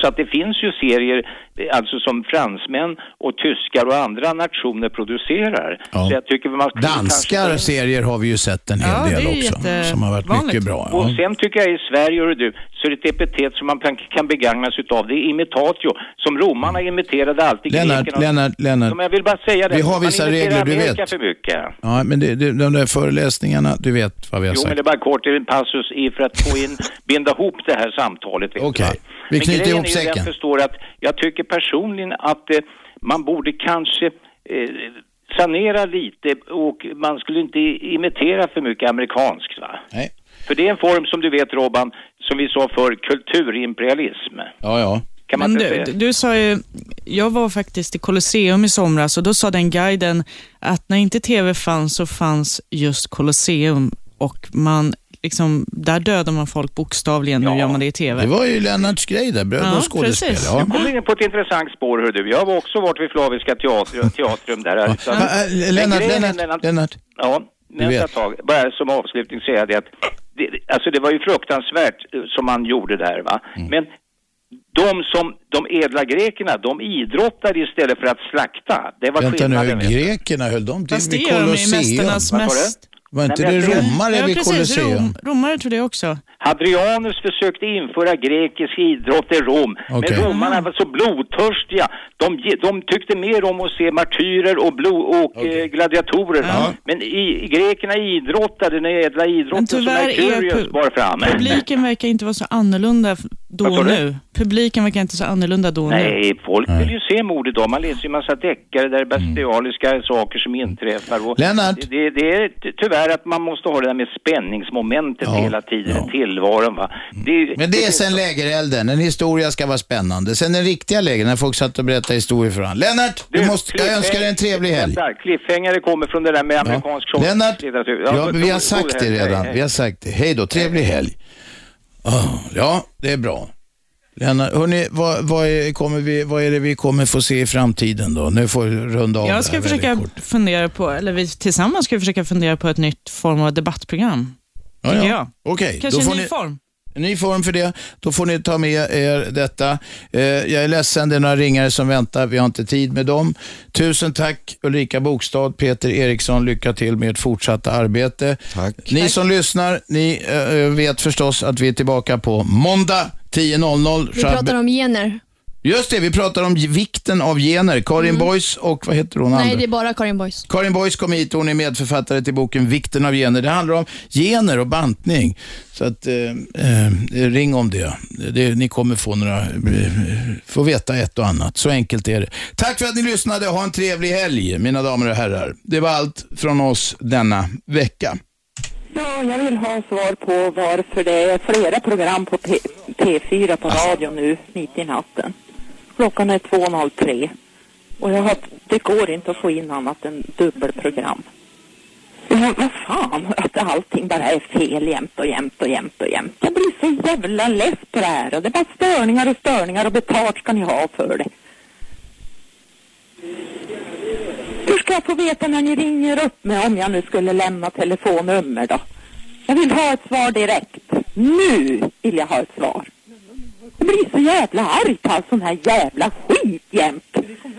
Så att det finns ju serier, eh, alltså som fransmän och tyskar och andra nationer producerar. Så jag tycker man ska
Danskar serier har vi ju sett en hel
Ja, det
del
är
också.
jätte-
Som har varit mycket bra.
Och
Ja.
sen tycker jag i Sverige, hör du, så är det ett epitet som man kan- kan begagna sig utav. Det är imitatio, som romarna imiterade alltid
Lennart,
grekerna.
Lennart, Lennart.
Men jag vill bara säga det,
Vi har
man
vissa
imiterar
regler, du
Amerika
vet.
för mycket.
Ja, men det, det, de där föreläsningarna, du vet vad vi har
Jo, men
sagt.
det är bara kort, det är en passus i för att få in, binda ihop det här samtalet. vet du,
Okej.
va?
Vi
Men
knyter
grejen
ihop
är ju den,
säcken.
förstår att jag tycker personligen att eh, man borde kanske eh, sanera lite och man skulle inte imitera för mycket amerikanskt. Va?
Nej.
För det är en form, som du vet Robban, som vi sa för kulturimperialism.
Ja, ja.
Kan man
Men
inte
du,
säga?
du sa ju, jag var faktiskt i Colosseum i somras och då sa den guiden att när inte tv fanns så fanns just Colosseum och man, liksom, där dödar man folk bokstavligen, nu gör man det i tv.
Det var ju Lennarts grej där, bröd
Ja,
och skådespel.
precis.
Ja.
Du kommer in på ett intressant spår, hör du. Jag har också varit vid Flaviska teater, teatrum där. alltså.
Va, äh,
Men
Lennart,
grejen är
Lennart,
den att-
Lennart.
Ja, men
vet.
ett tag. Bara som avslutning säga det att det, alltså det var ju fruktansvärt eh, som man gjorde där va.
Mm.
Men de som, de edla grekerna, de idrottade istället för att slakta. Det var
Vänta nu,
skillnaden.
hur grekerna höll de till
Fast det
vid
gör de ju i
Colosseum?
Mästarnas Vad sa du? mäst-
Var inte
Nej,
det
men jag tror-
romare
ja,
vid
precis.
Colosseum?
Rom, romare tror det också.
Hadrianus försökte införa grekisk idrott i Rom,
Okej.
men romarna var så blodtörstiga. De, ge- de tyckte mer om att se martyrer och, blod, och eh, gladiatorer. Men i, i grekerna idrottade den ädla idrotten som
tyvärr är
Merkurius
pu-
bar fram.
Publiken verkar inte vara så annorlunda f- då
Vad sa
och
du?
nu. Publiken verkar inte så annorlunda då och nu.
Nej, folk vill ju se mord idag. Man läser ju massa deckare där det är bestialiska saker som inträffar. Och
Mm. Lennart?
Det, det är ty- tyvärr att man måste ha det där med spänningsmomentet hela tiden i tillvaron. Va?
Mm.
Det,
Men det är sen lägerelden. En historia ska vara spännande. Sen den riktiga lägern, när folk satt och berättade historier för varandra. Lennart, du, måste, jag
cliffhanger-
önskar dig en trevlig helg.
Vänta, Cliffhangare kommer från det där med amerikansk ja.
Lennart, Ja, men vi har sagt det redan. Vi har sagt det. Hej då, trevlig helg. Ah, Ja, det är bra. Lennart, hörni, vad, vad, är, kommer vi, vad är det vi kommer få se i framtiden då? Nu får vi runda av det
Jag
här
ska
väldigt
försöka
kort.
fundera på, eller vi tillsammans ska vi försöka fundera på ett nytt form av debattprogram.
Ja,
tycker
ja.
jag.
Okej,
Kanske
då får
en ny
ni-
form.
En ny form för det. Då får ni ta med er detta. Eh, jag är ledsen, det är några ringare som väntar. Vi har inte tid med dem. Tusen tack Ulrika Bokstad, Peter Eriksson. Lycka till med ert fortsatta arbete. Ni som lyssnar, ni eh, vet förstås att vi är tillbaka på måndag 10.00.
Vi pratar om gener.
Just det, vi pratar om vikten av gener. Karin Boys och vad heter hon
Nej,
andra?
det är bara Karin Boys.
Karin Boys kom hit och hon är medförfattare till boken Vikten av gener. Det handlar om gener och bantning. Så att, eh, eh, ring om det. det. Ni kommer få några, eh, få veta ett och annat. Så enkelt är det. Tack för att ni lyssnade. Ha en trevlig helg, mina damer och herrar. Det var allt från oss denna vecka.
Ja, jag vill ha svar på varför det är flera program på P- P4 på radio nu, mitt i natten. Klockan är 2.03 och jag har, det går inte att få in annat än dubbelprogram. Ja, vad fan, att allting bara är fel jämt och jämt och jämt och jämt. Jag blir så jävla less på det här och det är bara störningar och störningar och betalt ska ni ha för det. Hur ska jag få veta när ni ringer upp mig om jag nu skulle lämna telefonnummer då? Jag vill ha ett svar direkt. Nu vill jag ha ett svar. Jag blir så jävla arg på all sån här jävla skit jämt.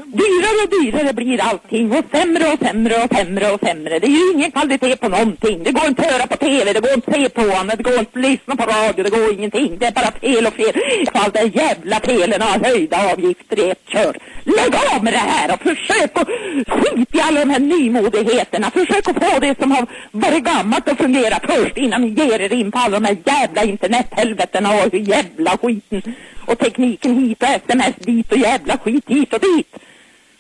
Dyrare och dyrare blir allting och sämre och sämre och sämre och sämre. Det är ju ingen kvalitet på någonting. Det går inte att höra på TV, det går inte att se på annat, det går inte att lyssna på radio, det går ingenting. Det är bara fel och fel. Allt det jävla felen har höjda avgifter i ett kör. Lägg av med det här och försök att skit i alla de här nymodigheterna. Försök att få det som har varit gammalt att fungera först innan ni ger er in på alla de här jävla internethelvetena och jävla skiten. Och tekniken hit och sms dit och jävla skit hit och dit.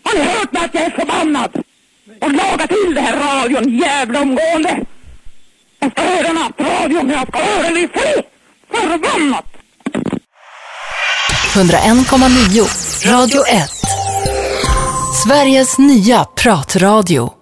Har ni hört mig att jag är förbannad? Och laga till det här radion jävla omgående! Jag ska höra nattradion, jag ska höra den i fred! Förbannat!
101,9 Radio 1. Sveriges nya pratradio.